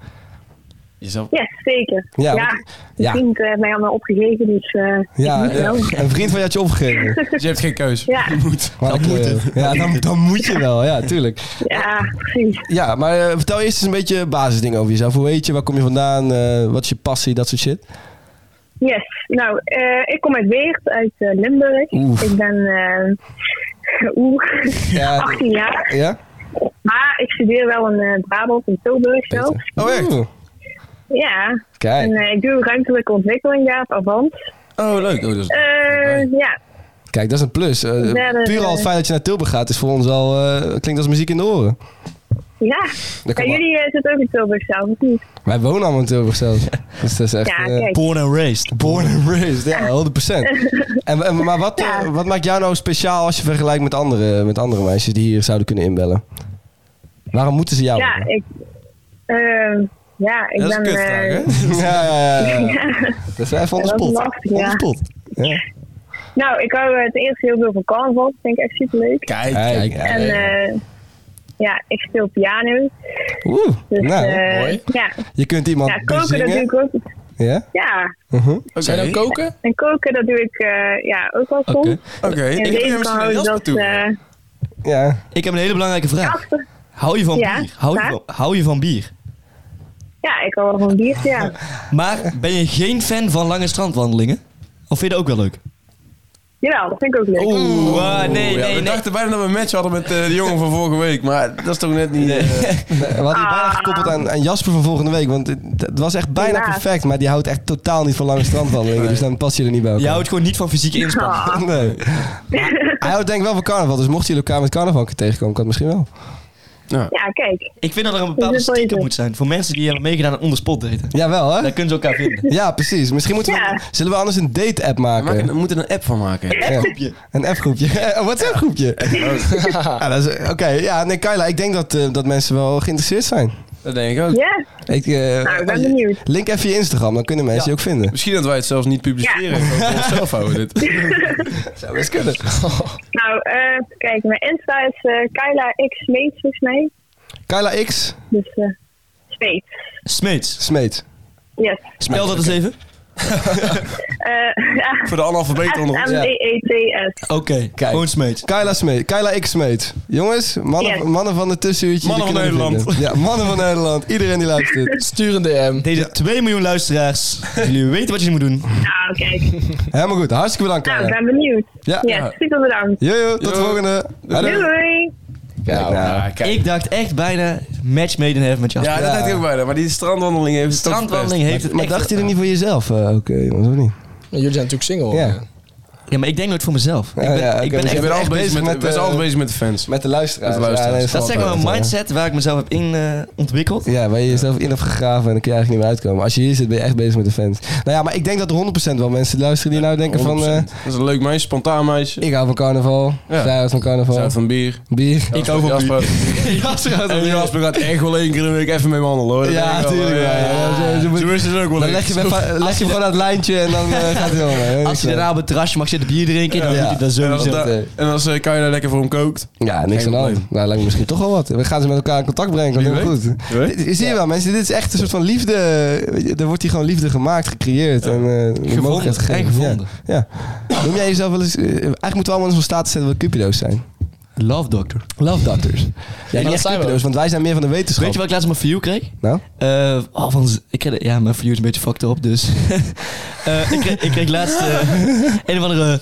[SPEAKER 4] Jezelf...
[SPEAKER 8] Ja, zeker.
[SPEAKER 2] Ja,
[SPEAKER 8] Ja,
[SPEAKER 2] want- ja.
[SPEAKER 8] mijn vriend eh, heeft mij allemaal opgegeven, dus eh,
[SPEAKER 2] Ja,
[SPEAKER 8] ik moet
[SPEAKER 2] eh,
[SPEAKER 8] wel.
[SPEAKER 2] een vriend van je had je opgegeven.
[SPEAKER 4] Dus je hebt geen keus.
[SPEAKER 8] Ja.
[SPEAKER 4] Je moet.
[SPEAKER 2] Maar dan moet eh,
[SPEAKER 5] eh,
[SPEAKER 2] Ja, dan, dan moet je wel. Ja, tuurlijk.
[SPEAKER 8] ja, precies.
[SPEAKER 2] Ja, maar eh, vertel eerst eens een beetje basisdingen over jezelf. Hoe heet je? Waar kom je vandaan? eh, wat is je passie? Dat soort shit.
[SPEAKER 8] Yes. Nou, eh, ik kom uit Weert, uit eh, Limburg.
[SPEAKER 2] Oeh.
[SPEAKER 8] Ik ben eh, oeh,
[SPEAKER 2] Ja.
[SPEAKER 8] 18 jaar.
[SPEAKER 2] Ja?
[SPEAKER 8] Maar ik studeer wel in eh, Brabant en Tilburg zelf.
[SPEAKER 2] Oh, echt?
[SPEAKER 8] Ja. En
[SPEAKER 2] Kijk,
[SPEAKER 8] eh, ik doe ruimtelijke ontwikkeling daar op Avant.
[SPEAKER 4] Oh, leuk. Oh, dat is...
[SPEAKER 8] Eh, ja,
[SPEAKER 2] kijk, dat is een plus. Eh,
[SPEAKER 8] Verder,
[SPEAKER 2] puur al het
[SPEAKER 8] eh,
[SPEAKER 2] feit dat je naar Tilburg gaat is voor ons al... eh, klinkt als muziek in de oren.
[SPEAKER 8] ja.
[SPEAKER 2] Dat
[SPEAKER 8] En
[SPEAKER 2] kan wel.
[SPEAKER 8] jullie eh, zitten ook in Tilburg zelf, of niet?
[SPEAKER 2] Wij wonen allemaal in Tilburg zelfs. Dus dat is echt...
[SPEAKER 8] Ja,
[SPEAKER 2] eh,
[SPEAKER 8] kijk.
[SPEAKER 5] Born and raised.
[SPEAKER 2] Born and raised, ja, 100%. en, en, maar wat, eh,
[SPEAKER 8] Ja.
[SPEAKER 2] wat maakt jou nou speciaal als je vergelijkt met andere, met andere meisjes die hier zouden kunnen inbellen? Waarom moeten ze jou?
[SPEAKER 8] Ja,
[SPEAKER 2] hebben?
[SPEAKER 8] ik, eh, ja, ik
[SPEAKER 4] Dat is een
[SPEAKER 8] ben...
[SPEAKER 4] kutvraag,
[SPEAKER 8] eh,
[SPEAKER 4] hè?
[SPEAKER 2] ja, ja, ja, ja. Dat is even onder
[SPEAKER 8] Ja, dat is
[SPEAKER 2] spot.
[SPEAKER 8] lastig,
[SPEAKER 2] Onder
[SPEAKER 8] ja.
[SPEAKER 2] spot. Ja.
[SPEAKER 8] Nou, ik hou eh, het eerst heel veel van carnaval. Dat vind ik echt superleuk.
[SPEAKER 4] Kijk,
[SPEAKER 2] Kijk,
[SPEAKER 4] kijk.
[SPEAKER 8] En eh, ja, ik speel piano.
[SPEAKER 2] Oeh,
[SPEAKER 8] Dus
[SPEAKER 2] nou,
[SPEAKER 8] eh,
[SPEAKER 3] mooi.
[SPEAKER 8] ja.
[SPEAKER 2] je kunt iemand
[SPEAKER 8] ja, koken dat doe
[SPEAKER 2] bezingen.
[SPEAKER 8] ik ook.
[SPEAKER 2] Ja?
[SPEAKER 8] Ja,
[SPEAKER 2] Mhm.
[SPEAKER 4] Oké.
[SPEAKER 3] Zijn dan koken?
[SPEAKER 8] en koken dat doe ik eh, ja, ook al soms.
[SPEAKER 5] Oké.
[SPEAKER 4] Oké.
[SPEAKER 8] En
[SPEAKER 4] Ik heb hier
[SPEAKER 8] deze
[SPEAKER 4] misschien
[SPEAKER 8] kan
[SPEAKER 4] een
[SPEAKER 8] ook
[SPEAKER 4] jasper
[SPEAKER 8] dat...
[SPEAKER 4] toe.
[SPEAKER 8] eh,
[SPEAKER 2] Ja.
[SPEAKER 5] Ik heb een hele belangrijke vraag.
[SPEAKER 8] achter-
[SPEAKER 5] Hou je van
[SPEAKER 8] Ja,
[SPEAKER 5] bier? Hou je
[SPEAKER 8] waar?
[SPEAKER 5] van, hou je van bier?
[SPEAKER 8] ja, ik hou wel van biertje, ja.
[SPEAKER 5] Maar ben je geen fan van lange strandwandelingen? Of vind je dat ook wel leuk?
[SPEAKER 8] Jawel, dat vind ik ook leuk.
[SPEAKER 4] Oh.
[SPEAKER 5] Oeh, ah,
[SPEAKER 4] Oeh,
[SPEAKER 5] nee,
[SPEAKER 4] ja,
[SPEAKER 5] nee,
[SPEAKER 4] we
[SPEAKER 5] nee.
[SPEAKER 4] dachten bijna dat we een match hadden met eh, de jongen van vorige week. Maar dat is toch net niet... eh,
[SPEAKER 2] We hadden je bijna
[SPEAKER 8] Ah.
[SPEAKER 2] gekoppeld aan, aan Jasper van volgende week. Want het, het was echt bijna
[SPEAKER 8] Helaas.
[SPEAKER 2] perfect. Maar die houdt echt totaal niet van lange strandwandelingen. Dus dan past je er niet bij
[SPEAKER 5] Je
[SPEAKER 2] elkaar.
[SPEAKER 5] houdt gewoon niet van fysieke inspanning.
[SPEAKER 8] Ah,
[SPEAKER 2] Nee. Maar hij houdt denk ik wel van carnaval. Dus mochten jullie elkaar met carnaval een keer tegenkomen, kan het misschien wel.
[SPEAKER 8] ja, kijk.
[SPEAKER 5] Ik vind dat er een bepaalde
[SPEAKER 8] Dus dat wil je
[SPEAKER 5] stiekem
[SPEAKER 8] doen.
[SPEAKER 5] moet zijn. Voor mensen die hebben meegedaan aan onderspot daten.
[SPEAKER 2] Jawel, hè?
[SPEAKER 5] Daar kunnen ze elkaar vinden.
[SPEAKER 2] Ja, precies. Misschien moeten we...
[SPEAKER 8] Ja.
[SPEAKER 2] Zullen we anders een date-app
[SPEAKER 4] we maken-
[SPEAKER 2] maken?
[SPEAKER 4] we moeten een app van maken.
[SPEAKER 2] Ja. Een F-groepje. Een WhatsApp-groepje. Ja, dat is- Oké, ja. Nee, Kyla, ik denk dat, eh, dat mensen wel geïnteresseerd zijn.
[SPEAKER 4] Dat denk ik ook.
[SPEAKER 8] Ja,
[SPEAKER 2] Ik, eh,
[SPEAKER 8] Nou, ik ben benieuwd.
[SPEAKER 2] Link even je Instagram, dan kunnen mensen je ook vinden.
[SPEAKER 4] Misschien dat wij het zelfs niet publiceren. Gewoon voor onszelf houden dit.
[SPEAKER 2] Zou best kunnen.
[SPEAKER 8] nou, eh, kijk, mijn Insta is eh Kyla X Smeets, volgens mij.
[SPEAKER 2] Kyla X,
[SPEAKER 8] Dus eh Smeets.
[SPEAKER 5] Smeets.
[SPEAKER 2] Smeet.
[SPEAKER 8] Yes.
[SPEAKER 5] Spel dat eens even.
[SPEAKER 8] Eh, ja,
[SPEAKER 4] Voor de analfabeten onder
[SPEAKER 8] Eh,
[SPEAKER 4] ons.
[SPEAKER 8] E M-E-E-T-S.
[SPEAKER 5] Oké, gewoon smeet.
[SPEAKER 2] Kyla Smeet. Kyla X Smeet. Jongens, mannen,
[SPEAKER 8] Yes.
[SPEAKER 2] mannen van de tussenuurtje.
[SPEAKER 4] Mannen
[SPEAKER 2] die
[SPEAKER 4] van
[SPEAKER 2] kunnen we
[SPEAKER 4] Nederland.
[SPEAKER 2] vinden. Ja, mannen van Nederland. Iedereen die luistert.
[SPEAKER 3] Stuur een DM.
[SPEAKER 5] Deze 2 miljoen luisteraars, jullie weten wat je moet doen.
[SPEAKER 8] Nou, kijk.
[SPEAKER 2] Helemaal goed. Hartstikke bedankt,
[SPEAKER 8] Nou, ik
[SPEAKER 2] Kyla.
[SPEAKER 8] ben benieuwd.
[SPEAKER 2] Ja.
[SPEAKER 8] Yes, super bedankt.
[SPEAKER 2] Jojo, tot de volgende.
[SPEAKER 8] Doei.
[SPEAKER 2] Hallo.
[SPEAKER 8] doei.
[SPEAKER 2] Kijk nou.
[SPEAKER 4] Ja, kijk.
[SPEAKER 5] Ik dacht echt bijna match made in heaven met jou.
[SPEAKER 4] Ja, dat dacht ik ook bijna. Maar die strandwandeling heeft het toch
[SPEAKER 5] Strandwandeling heeft het
[SPEAKER 2] Maar
[SPEAKER 5] echt-
[SPEAKER 2] dacht je er niet voor jezelf? eh, Oké, jongens, of niet?
[SPEAKER 3] Jullie zijn natuurlijk single.
[SPEAKER 2] Ja.
[SPEAKER 3] hè?
[SPEAKER 5] Ja, maar ik denk nooit voor mezelf. Ik
[SPEAKER 2] Ja,
[SPEAKER 5] ben,
[SPEAKER 2] ja, oké,
[SPEAKER 5] ik ben
[SPEAKER 2] dus
[SPEAKER 4] verpest.
[SPEAKER 2] je
[SPEAKER 4] Ik
[SPEAKER 5] echt,
[SPEAKER 4] ben altijd
[SPEAKER 2] bezig
[SPEAKER 4] bezig
[SPEAKER 2] met,
[SPEAKER 4] met, we zijn
[SPEAKER 2] eh,
[SPEAKER 4] altijd bezig met de fans.
[SPEAKER 2] Met de luisteraars.
[SPEAKER 4] Met de luisteraars.
[SPEAKER 2] Ja, nee,
[SPEAKER 5] dat is
[SPEAKER 2] valt
[SPEAKER 5] zeg maar een
[SPEAKER 2] wel echt,
[SPEAKER 5] mindset waar ik mezelf heb in eh, ontwikkeld.
[SPEAKER 2] eh, Ja, waar je jezelf in hebt gegraven en dan kun je eigenlijk niet meer uitkomen. Als je hier zit, ben je echt bezig met de fans. Nou ja, maar ik denk dat er 100% wel mensen luisteren die nou denken van... eh,
[SPEAKER 4] 100%. dat is een leuk meisje, spontaan meisje.
[SPEAKER 2] ik hou van carnaval,
[SPEAKER 4] Ja.
[SPEAKER 2] zij houdt van carnaval,
[SPEAKER 4] Zuid van bier.
[SPEAKER 2] bier.
[SPEAKER 4] Ik ook van bier. En Jasper gaat echt wel één keer in de week even mee wandelen hoor. Dat
[SPEAKER 2] Ja,
[SPEAKER 4] denk ik wel. eh,
[SPEAKER 2] tuurlijk wel. Ja, ze- ze
[SPEAKER 4] Zo
[SPEAKER 2] moeten-
[SPEAKER 4] is het ook wel
[SPEAKER 2] Dan
[SPEAKER 4] eens.
[SPEAKER 2] leg je, hem even- leg je hem gewoon aan het lijntje en dan eh, gaat hij wel mee.
[SPEAKER 5] Als je daarna op het terrasje mag zitten bier drinken, dan
[SPEAKER 2] Ja.
[SPEAKER 5] doet hij dat
[SPEAKER 4] En
[SPEAKER 5] sowieso.
[SPEAKER 4] als,
[SPEAKER 2] zo
[SPEAKER 4] da-
[SPEAKER 2] meteen.
[SPEAKER 4] en als eh, Kai daar lekker voor hem kookt.
[SPEAKER 2] Ja, niks aan
[SPEAKER 4] Geen
[SPEAKER 2] de hand.
[SPEAKER 4] probleem.
[SPEAKER 2] Nou, lijkt me misschien toch wel wat. We gaan ze met elkaar in contact brengen. Komt
[SPEAKER 4] Wie
[SPEAKER 2] helemaal goed.
[SPEAKER 4] Wie weet.
[SPEAKER 2] Dit- Zie je wel, mensen. Dit is echt een soort van liefde. Weet je, Er wordt hier gewoon liefde gemaakt, gecreëerd. En, eh, de mogelijkheid gegeven.
[SPEAKER 5] en gevonden.
[SPEAKER 2] Ja. ja. Noem jij jezelf wel eens... eh, eigenlijk moeten we allemaal in zo'n status zetten dat we cupido's zijn.
[SPEAKER 5] Love doctor.
[SPEAKER 2] Love doctors. Ja, niet
[SPEAKER 3] dat
[SPEAKER 2] echt
[SPEAKER 3] zijn we
[SPEAKER 2] cupido's,
[SPEAKER 3] ook.
[SPEAKER 2] want wij zijn meer van de wetenschap.
[SPEAKER 5] Weet je wat ik laatst op mijn view kreeg?
[SPEAKER 2] Nou?
[SPEAKER 5] Eh, oh, van, z- ik kreeg, ja, mijn view is een beetje fucked op, dus. Eh, ik, kreeg, ik kreeg laatst eh, een of andere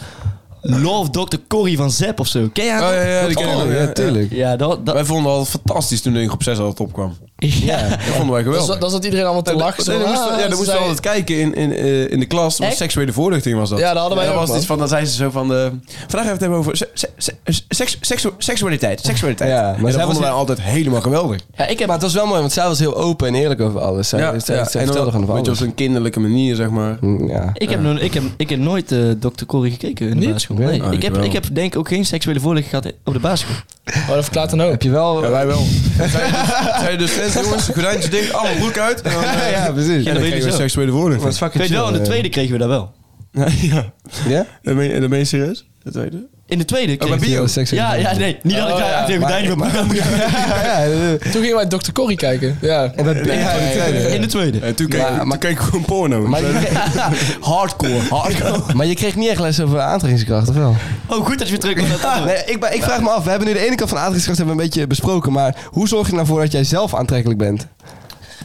[SPEAKER 5] Love Doctor Corrie van Zepp of zo. Ken jij
[SPEAKER 4] Oh
[SPEAKER 5] dat?
[SPEAKER 4] ja, ja, die ken ik
[SPEAKER 2] Oh,
[SPEAKER 4] wel,
[SPEAKER 2] ja, tuurlijk.
[SPEAKER 5] Ja, dat. dat
[SPEAKER 4] Wij vonden het al fantastisch toen de op 6 altijd opkwam.
[SPEAKER 5] ja.
[SPEAKER 4] Dat vonden wij
[SPEAKER 3] Dan,
[SPEAKER 4] geweldig.
[SPEAKER 3] zat- dan zat iedereen allemaal te
[SPEAKER 4] Nee,
[SPEAKER 3] lachen. zo,
[SPEAKER 4] nee, dan moesten we-
[SPEAKER 3] ah,
[SPEAKER 4] ja, dan
[SPEAKER 3] ze
[SPEAKER 4] moesten we
[SPEAKER 3] zei-
[SPEAKER 4] altijd kijken in, in, eh, in de klas. Dat was
[SPEAKER 3] Echt?
[SPEAKER 4] seksuele voorlichting was dat.
[SPEAKER 3] Ja, dat hadden wij
[SPEAKER 4] En dan
[SPEAKER 3] ook,
[SPEAKER 4] was het
[SPEAKER 3] man.
[SPEAKER 4] iets van, dan zei ze zo van... De, Vandaag hebben we het hebben over se- se- se- eh, seks- seksu- seksualiteit. Seksualiteit.
[SPEAKER 2] Ja, maar
[SPEAKER 4] maar en dat
[SPEAKER 2] zij
[SPEAKER 4] vonden
[SPEAKER 2] was-
[SPEAKER 4] wij altijd helemaal geweldig.
[SPEAKER 2] Ja, ik heb... Maar het was wel mooi, want zij was heel open en eerlijk over alles. Zij, zij, zij
[SPEAKER 4] en
[SPEAKER 2] vertelde
[SPEAKER 4] dan,
[SPEAKER 2] gewoon van
[SPEAKER 4] Weet je, op
[SPEAKER 2] alles.
[SPEAKER 4] zo'n kinderlijke manier, zeg maar.
[SPEAKER 2] Mm, Ja.
[SPEAKER 5] Ik heb, nog- ik, heb, ik heb nooit eh Dr. Corrie gekeken in de basisschool.
[SPEAKER 2] Nee.
[SPEAKER 5] Nee.
[SPEAKER 4] Ah,
[SPEAKER 5] ik,
[SPEAKER 4] ik
[SPEAKER 5] heb,
[SPEAKER 4] wel.
[SPEAKER 5] ik heb denk ik ook geen seksuele voorlichting gehad op de basisschool.
[SPEAKER 3] Oh, dat verklaart dan ook.
[SPEAKER 2] Heb je wel...
[SPEAKER 4] Ja, wij wel. Zij de docent, jongens, gordijntje dicht, allemaal broek uit. En dan, eh,
[SPEAKER 2] ja, precies.
[SPEAKER 4] en
[SPEAKER 5] dat
[SPEAKER 4] dan
[SPEAKER 5] weet je
[SPEAKER 4] kregen we
[SPEAKER 5] zo.
[SPEAKER 4] seksuele
[SPEAKER 2] Dat is
[SPEAKER 4] voorlichting.
[SPEAKER 5] Ik
[SPEAKER 2] fucking
[SPEAKER 5] weet wel, in de
[SPEAKER 2] chill,
[SPEAKER 5] tweede kregen we dat wel.
[SPEAKER 4] ja.
[SPEAKER 2] eh. Ja?
[SPEAKER 4] Dat ben, je- dat ben je serieus? Dat tweede?
[SPEAKER 5] In de tweede kregen
[SPEAKER 4] Oh, bij
[SPEAKER 5] we-
[SPEAKER 4] bio?
[SPEAKER 2] Heel seksueel.
[SPEAKER 5] Ja, ja, nee. Niet dat ik
[SPEAKER 3] Oh,
[SPEAKER 5] daar
[SPEAKER 3] ja.
[SPEAKER 5] uit de
[SPEAKER 2] Maar-
[SPEAKER 5] gordijnen wil-
[SPEAKER 2] Ja, ja, ja.
[SPEAKER 3] Toen gingen wij Dr. Corrie kijken. Ja.
[SPEAKER 2] En dat ja, in de tweede.
[SPEAKER 5] In de tweede.
[SPEAKER 4] En toen keek,
[SPEAKER 2] Maar-
[SPEAKER 4] toen
[SPEAKER 2] maar-
[SPEAKER 4] keek ik gewoon porno. Dus-
[SPEAKER 2] Maar je, kreeg,
[SPEAKER 4] hardcore, hardcore.
[SPEAKER 2] maar je kreeg niet echt les over aantrekkingskracht, of wel?
[SPEAKER 5] Oh, goed dat je weer terug bent. naar het andere.
[SPEAKER 2] Nee, ik, ben- ik vraag me af, we hebben nu de ene kant van aantrekkingskracht hebben we een beetje besproken, maar hoe zorg je er nou voor dat jij zelf aantrekkelijk bent?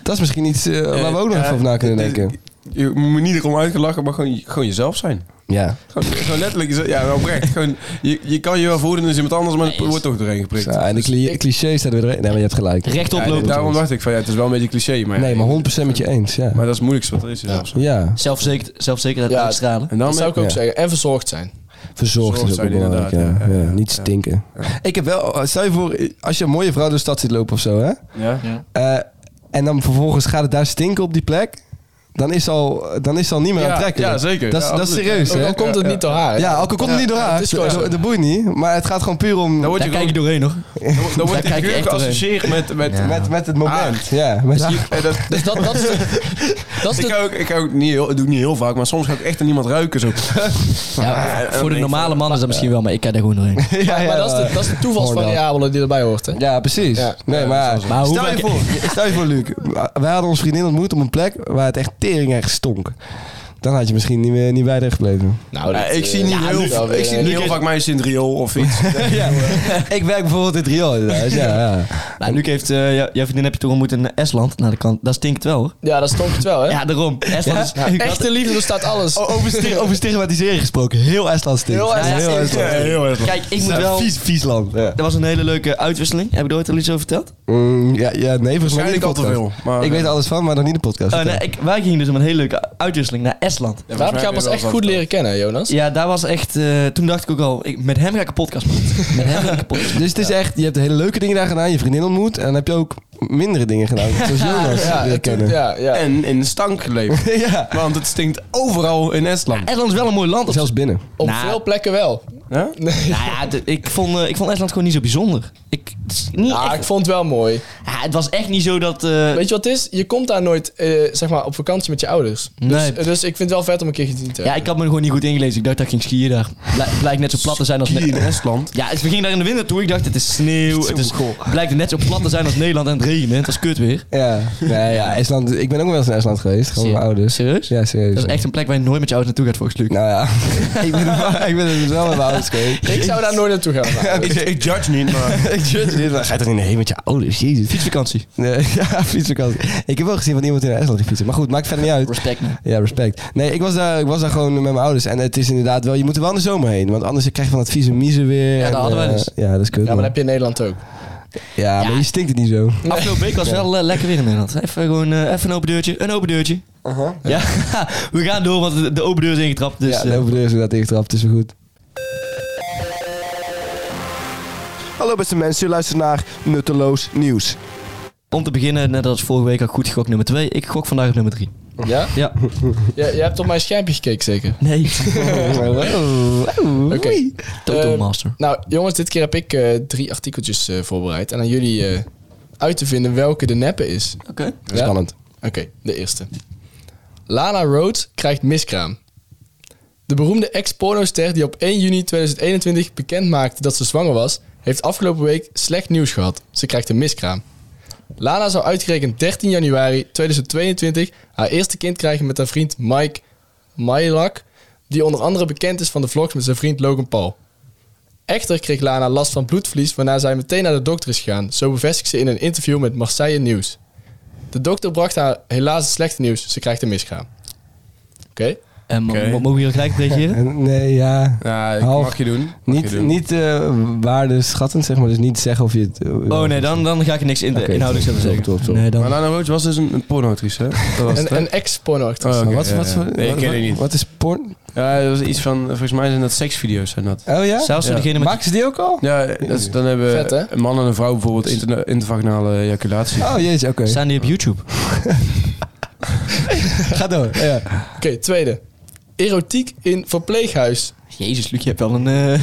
[SPEAKER 2] Dat is misschien iets eh, waar we ook nog
[SPEAKER 4] Ja,
[SPEAKER 2] even over na kunnen
[SPEAKER 4] dit-
[SPEAKER 2] denken.
[SPEAKER 4] dus- Je moet niet erom uitgelachen, maar gewoon, gewoon jezelf zijn.
[SPEAKER 2] Ja,
[SPEAKER 4] Gewoon, gewoon letterlijk, jezelf- ja, wel oprecht. Gewoon, je, je kan je wel voelen als iemand anders, maar het wordt toch doorheen geprikt.
[SPEAKER 2] Zo, en de cli cliché staat weer erin. Nee, maar je hebt gelijk.
[SPEAKER 5] Rechtop
[SPEAKER 4] Ja,
[SPEAKER 5] lopen.
[SPEAKER 4] daarom dacht ik van, ja, het is wel een beetje cliché, maar, ja,
[SPEAKER 2] Nee, maar 100% met je eens, ja.
[SPEAKER 4] maar dat is het moeilijkste wat er is. jezelf zijn.
[SPEAKER 2] Ja,
[SPEAKER 5] Zelfverzekerd, zelfverzekerheid
[SPEAKER 3] Ja.
[SPEAKER 5] uitstralen.
[SPEAKER 4] En dan
[SPEAKER 3] Dat zou ik ook
[SPEAKER 2] Ja.
[SPEAKER 3] zeggen. En verzorgd zijn.
[SPEAKER 2] verzorgd is ook
[SPEAKER 4] Verzorgd
[SPEAKER 2] wel
[SPEAKER 4] zijn,
[SPEAKER 2] belangrijk. Ja.
[SPEAKER 4] inderdaad, ja,
[SPEAKER 2] Ja,
[SPEAKER 4] ja,
[SPEAKER 2] niet
[SPEAKER 4] ja.
[SPEAKER 2] stinken. Ik heb wel, eh, stel je voor, als je een mooie vrouw door de stad ziet lopen of zo, hè?
[SPEAKER 4] ja.
[SPEAKER 2] Eh, en dan vervolgens gaat het daar stinken op die plek, dan is al, dan is al niet meer
[SPEAKER 4] Ja,
[SPEAKER 2] aantrekkelijk.
[SPEAKER 4] ja, zeker.
[SPEAKER 2] Dat is
[SPEAKER 4] Ja,
[SPEAKER 2] dat is
[SPEAKER 4] absoluut.
[SPEAKER 2] serieus,
[SPEAKER 3] Ook
[SPEAKER 2] hè?
[SPEAKER 3] al komt het niet door haar. hè?
[SPEAKER 2] Ja, ook al komt het niet door
[SPEAKER 3] Ja,
[SPEAKER 2] haar.
[SPEAKER 3] het is gewoon zo.
[SPEAKER 2] dat, dat boeit niet. Maar het gaat gewoon puur om...
[SPEAKER 4] Dan word
[SPEAKER 5] Daar
[SPEAKER 4] je
[SPEAKER 5] kijk je
[SPEAKER 4] gewoon,
[SPEAKER 5] doorheen nog.
[SPEAKER 4] dan, dan word je
[SPEAKER 5] kijk je
[SPEAKER 4] gewoon
[SPEAKER 5] echt doorheen.
[SPEAKER 4] geassocieerd met... met, met
[SPEAKER 2] Met, met het moment.
[SPEAKER 4] Ah.
[SPEAKER 2] Ja, met
[SPEAKER 4] je- en dat,
[SPEAKER 3] Dus dat, dat is de, dat is
[SPEAKER 4] ik,
[SPEAKER 3] de,
[SPEAKER 4] ga ook, ik, ga ook niet heel, dat doe ik niet heel vaak, maar soms ga ik echt aan iemand ruiken. Zo.
[SPEAKER 5] Ja,
[SPEAKER 4] dan
[SPEAKER 5] voor
[SPEAKER 4] denk
[SPEAKER 5] de
[SPEAKER 4] ik
[SPEAKER 5] normale man is dat misschien wel, maar ik kijk daar gewoon doorheen.
[SPEAKER 2] ja,
[SPEAKER 3] maar dat is de, dat is de toevalsvariabele die erbij hoort. Hè?
[SPEAKER 2] Ja, precies.
[SPEAKER 3] Ja.
[SPEAKER 2] Nee, maar,
[SPEAKER 5] Maar hoe
[SPEAKER 2] stel, je
[SPEAKER 5] vaak-
[SPEAKER 2] voor, stel je voor, Luc. Wij hadden onze vriendin ontmoet op een plek waar het echt tering echt stonk. Dan had je misschien niet, meer, niet bij haar gebleven.
[SPEAKER 3] Nou,
[SPEAKER 4] Ja,
[SPEAKER 3] dat,
[SPEAKER 4] ik
[SPEAKER 3] eh,
[SPEAKER 4] zie niet
[SPEAKER 3] ja,
[SPEAKER 4] heel,
[SPEAKER 3] dat wel
[SPEAKER 4] ik
[SPEAKER 3] weer,
[SPEAKER 4] zie
[SPEAKER 3] eh,
[SPEAKER 4] niet heel vaak meisjes in het riool of iets.
[SPEAKER 2] Ik werk bijvoorbeeld in het riool inderdaad. Ja, ja.
[SPEAKER 5] Nou, Luc heeft, eh, jou- jouw vriendin heb je toen ontmoet in Estland. Nou, dat, kan, dat stinkt wel hoor.
[SPEAKER 3] Ja, dat stond het wel, hè?
[SPEAKER 5] Ja, daarom. Estland
[SPEAKER 3] Ja,
[SPEAKER 5] is...
[SPEAKER 3] Echte liefde, er staat alles.
[SPEAKER 2] Over, stig- over stigmatisering gesproken. Heel Estland stinkt.
[SPEAKER 3] Heel
[SPEAKER 2] Ja,
[SPEAKER 3] Estland stinkt.
[SPEAKER 4] Ja, heel erg.
[SPEAKER 5] Kijk, ik moet
[SPEAKER 2] Ja,
[SPEAKER 5] wel...
[SPEAKER 2] Vies, vies land. Ja,
[SPEAKER 5] Dat was een hele leuke uitwisseling. Heb ik er ooit al iets over verteld?
[SPEAKER 2] Mm, ja, ja nee, volgens mij niet in
[SPEAKER 4] Waarschijnlijk
[SPEAKER 2] de
[SPEAKER 4] al te
[SPEAKER 2] podcast.
[SPEAKER 4] veel, maar-
[SPEAKER 2] ik weet er alles van, maar nog niet in de podcast.
[SPEAKER 5] Oh, nee, ik, wij gingen dus om een hele leuke uitwisseling naar Estland.
[SPEAKER 4] Ja,
[SPEAKER 3] Daar heb ik jou pas echt goed leren kennen, Jonas.
[SPEAKER 5] Ja, daar was echt... eh, toen dacht ik ook al, ik, met hem ga ik een podcast maken. Met hem ga ik een podcast maken.
[SPEAKER 2] Dus het is echt, je hebt hele leuke dingen daar gedaan, je vriendin ontmoet. En dan heb je ook mindere dingen gedaan, zoals Jonas
[SPEAKER 3] Ja,
[SPEAKER 2] leren
[SPEAKER 3] en toen-
[SPEAKER 2] kennen.
[SPEAKER 3] ja, ja.
[SPEAKER 4] En in de stank leven.
[SPEAKER 2] Ja.
[SPEAKER 4] Want het stinkt overal in Estland.
[SPEAKER 5] Estland is wel een mooi land. op-
[SPEAKER 2] Zelfs binnen.
[SPEAKER 3] Op
[SPEAKER 5] Nou.
[SPEAKER 3] veel plekken wel.
[SPEAKER 4] Ja?
[SPEAKER 5] Nou ja, de- ik vond, eh, ik vond Estland gewoon niet zo bijzonder. Ik, het is niet
[SPEAKER 3] Ja,
[SPEAKER 5] echt-
[SPEAKER 3] ik vond het wel mooi.
[SPEAKER 5] Ja, ja, het was echt niet zo dat... eh,
[SPEAKER 3] Weet je wat het is? Je komt daar nooit eh, zeg maar, op vakantie met je ouders. Dus,
[SPEAKER 5] Nee.
[SPEAKER 3] dus ik vind het wel vet om een keer gezien te
[SPEAKER 5] ja,
[SPEAKER 3] hebben.
[SPEAKER 5] ik had me er gewoon niet goed ingelezen. Ik dacht dat ik ging skiën daar. Bl- blijkt net zo plat te zijn als... Ne-
[SPEAKER 4] Hier in Estland.
[SPEAKER 5] Ja, dus we gingen daar in de winter toe. Ik dacht, het is sneeuw. Het is, blijkt net zo plat te zijn als Nederland en het regent. Het was kut weer.
[SPEAKER 2] Ja, nee, ja, IJsland. Ik ben ook wel eens in IJsland geweest. Gewoon met mijn ouders.
[SPEAKER 5] Serieus?
[SPEAKER 2] dus. Ja, serieus.
[SPEAKER 5] Dat is echt een plek waar je nooit met je ouders naartoe gaat, volgens Luc.
[SPEAKER 2] Nou ja, ik ben, ik ben dus wel met mijn ouders geweest.
[SPEAKER 3] Ik zou daar nooit naartoe gaan. maar-
[SPEAKER 4] Ik, ik judge niet, maar...
[SPEAKER 2] Ik judge dit, maar Ga je toch niet heen met je ouders? Jezus.
[SPEAKER 5] Fietsvakantie.
[SPEAKER 2] Nee, ja, fietsvakantie. Ik heb wel gezien van iemand in IJsland die fietsen. Maar goed, maakt verder niet uit.
[SPEAKER 5] Respect.
[SPEAKER 2] Ja, respect. Nee, ik was daar, ik was daar gewoon met mijn ouders. En het is inderdaad wel, je moet er wel in de zomer heen. Want anders krijg je van dat vieze miezen weer. Ja,
[SPEAKER 5] dat hadden wij dus.
[SPEAKER 2] Ja, dat is kut.
[SPEAKER 3] Ja,
[SPEAKER 2] man.
[SPEAKER 3] maar dat heb je in Nederland ook.
[SPEAKER 2] Ja, maar je stinkt het niet zo.
[SPEAKER 5] Afgelopen week was wel eh, lekker weer in Nederland. Even gewoon eh, even een open deurtje. Een open deurtje. Ja, we gaan door, want de- de open deur is ingetrapt. Dus,
[SPEAKER 2] Uh-huh. ja, de
[SPEAKER 5] eh,
[SPEAKER 2] overdeur is inderdaad ingetrapt. Het is wel goed. Hallo beste mensen, je luistert naar Nutteloos Nieuws.
[SPEAKER 5] om te beginnen, net als vorige week, had ik goed gegokt nummer 2. Ik gok vandaag op nummer 3.
[SPEAKER 3] Ja?
[SPEAKER 5] Ja.
[SPEAKER 3] Je, je hebt op mijn schermpje gekeken zeker?
[SPEAKER 5] Nee.
[SPEAKER 3] Oké.
[SPEAKER 5] Total
[SPEAKER 3] Eh,
[SPEAKER 5] master.
[SPEAKER 3] Nou, jongens, dit keer heb ik eh, drie artikeltjes eh, voorbereid. En aan jullie eh, uit te vinden welke de neppe is.
[SPEAKER 5] Oké.
[SPEAKER 2] Spannend.
[SPEAKER 3] Oké, de eerste. Lana Rhodes krijgt miskraam. De beroemde ex-pornoster die op 1 juni 2021 bekend maakte dat ze zwanger was, heeft afgelopen week slecht nieuws gehad. Ze krijgt een miskraam. Lana zou uitgerekend 13 januari 2022 haar eerste kind krijgen met haar vriend Mike Mylak, die onder andere bekend is van de vlogs met zijn vriend Logan Paul. Echter kreeg Lana last van bloedverlies, waarna zij meteen naar de dokter is gegaan. Zo bevestigt ze in een interview met Marseille Nieuws. De dokter bracht haar helaas het slechte nieuws. Ze krijgt een miskraam. Oké?
[SPEAKER 5] En mo-
[SPEAKER 4] Oké.
[SPEAKER 5] mo- mogen we hier gelijk op reageren?
[SPEAKER 2] En- Nee, ja.
[SPEAKER 4] Ja, ik-
[SPEAKER 2] Half.
[SPEAKER 4] mag je doen. Mag je
[SPEAKER 2] Niet,
[SPEAKER 4] doen.
[SPEAKER 2] niet eh, waardeschattend, zeg maar. Dus niet zeggen of je het... eh,
[SPEAKER 5] Oh nee, dan, dan ga ik niks in
[SPEAKER 2] Oké,
[SPEAKER 5] inhoudelijk
[SPEAKER 2] top,
[SPEAKER 5] zelf zeggen.
[SPEAKER 2] top, top.
[SPEAKER 5] Nee, dan...
[SPEAKER 4] Maar Lana Roach was dus een, een pornoactrice, hè? Dat was het,
[SPEAKER 3] Een,
[SPEAKER 4] hè?
[SPEAKER 3] een ex-pornoactrice.
[SPEAKER 4] Oh, oké,
[SPEAKER 2] wat,
[SPEAKER 4] ja,
[SPEAKER 2] wat,
[SPEAKER 4] ja.
[SPEAKER 2] voor-
[SPEAKER 4] Nee, ik
[SPEAKER 2] wat-
[SPEAKER 4] ken het niet.
[SPEAKER 2] Wat is porn?
[SPEAKER 4] Ja, dat was iets van... Volgens mij zijn dat seksvideo's, zijn dat.
[SPEAKER 2] Oh ja?
[SPEAKER 5] Zelfs
[SPEAKER 4] Ja.
[SPEAKER 5] degene met...
[SPEAKER 2] Maken ze die ook al?
[SPEAKER 4] Ja, dat is- dan hebben
[SPEAKER 3] Vet, hè?
[SPEAKER 4] een man en een vrouw bijvoorbeeld interne- intervaginale ejaculatie.
[SPEAKER 2] Oh jeetje, oké.
[SPEAKER 5] Staan die op YouTube?
[SPEAKER 2] Ga door. Ja.
[SPEAKER 3] Oké, tweede. Erotiek in verpleeghuis.
[SPEAKER 5] Jezus, Luc, je hebt wel een... eh,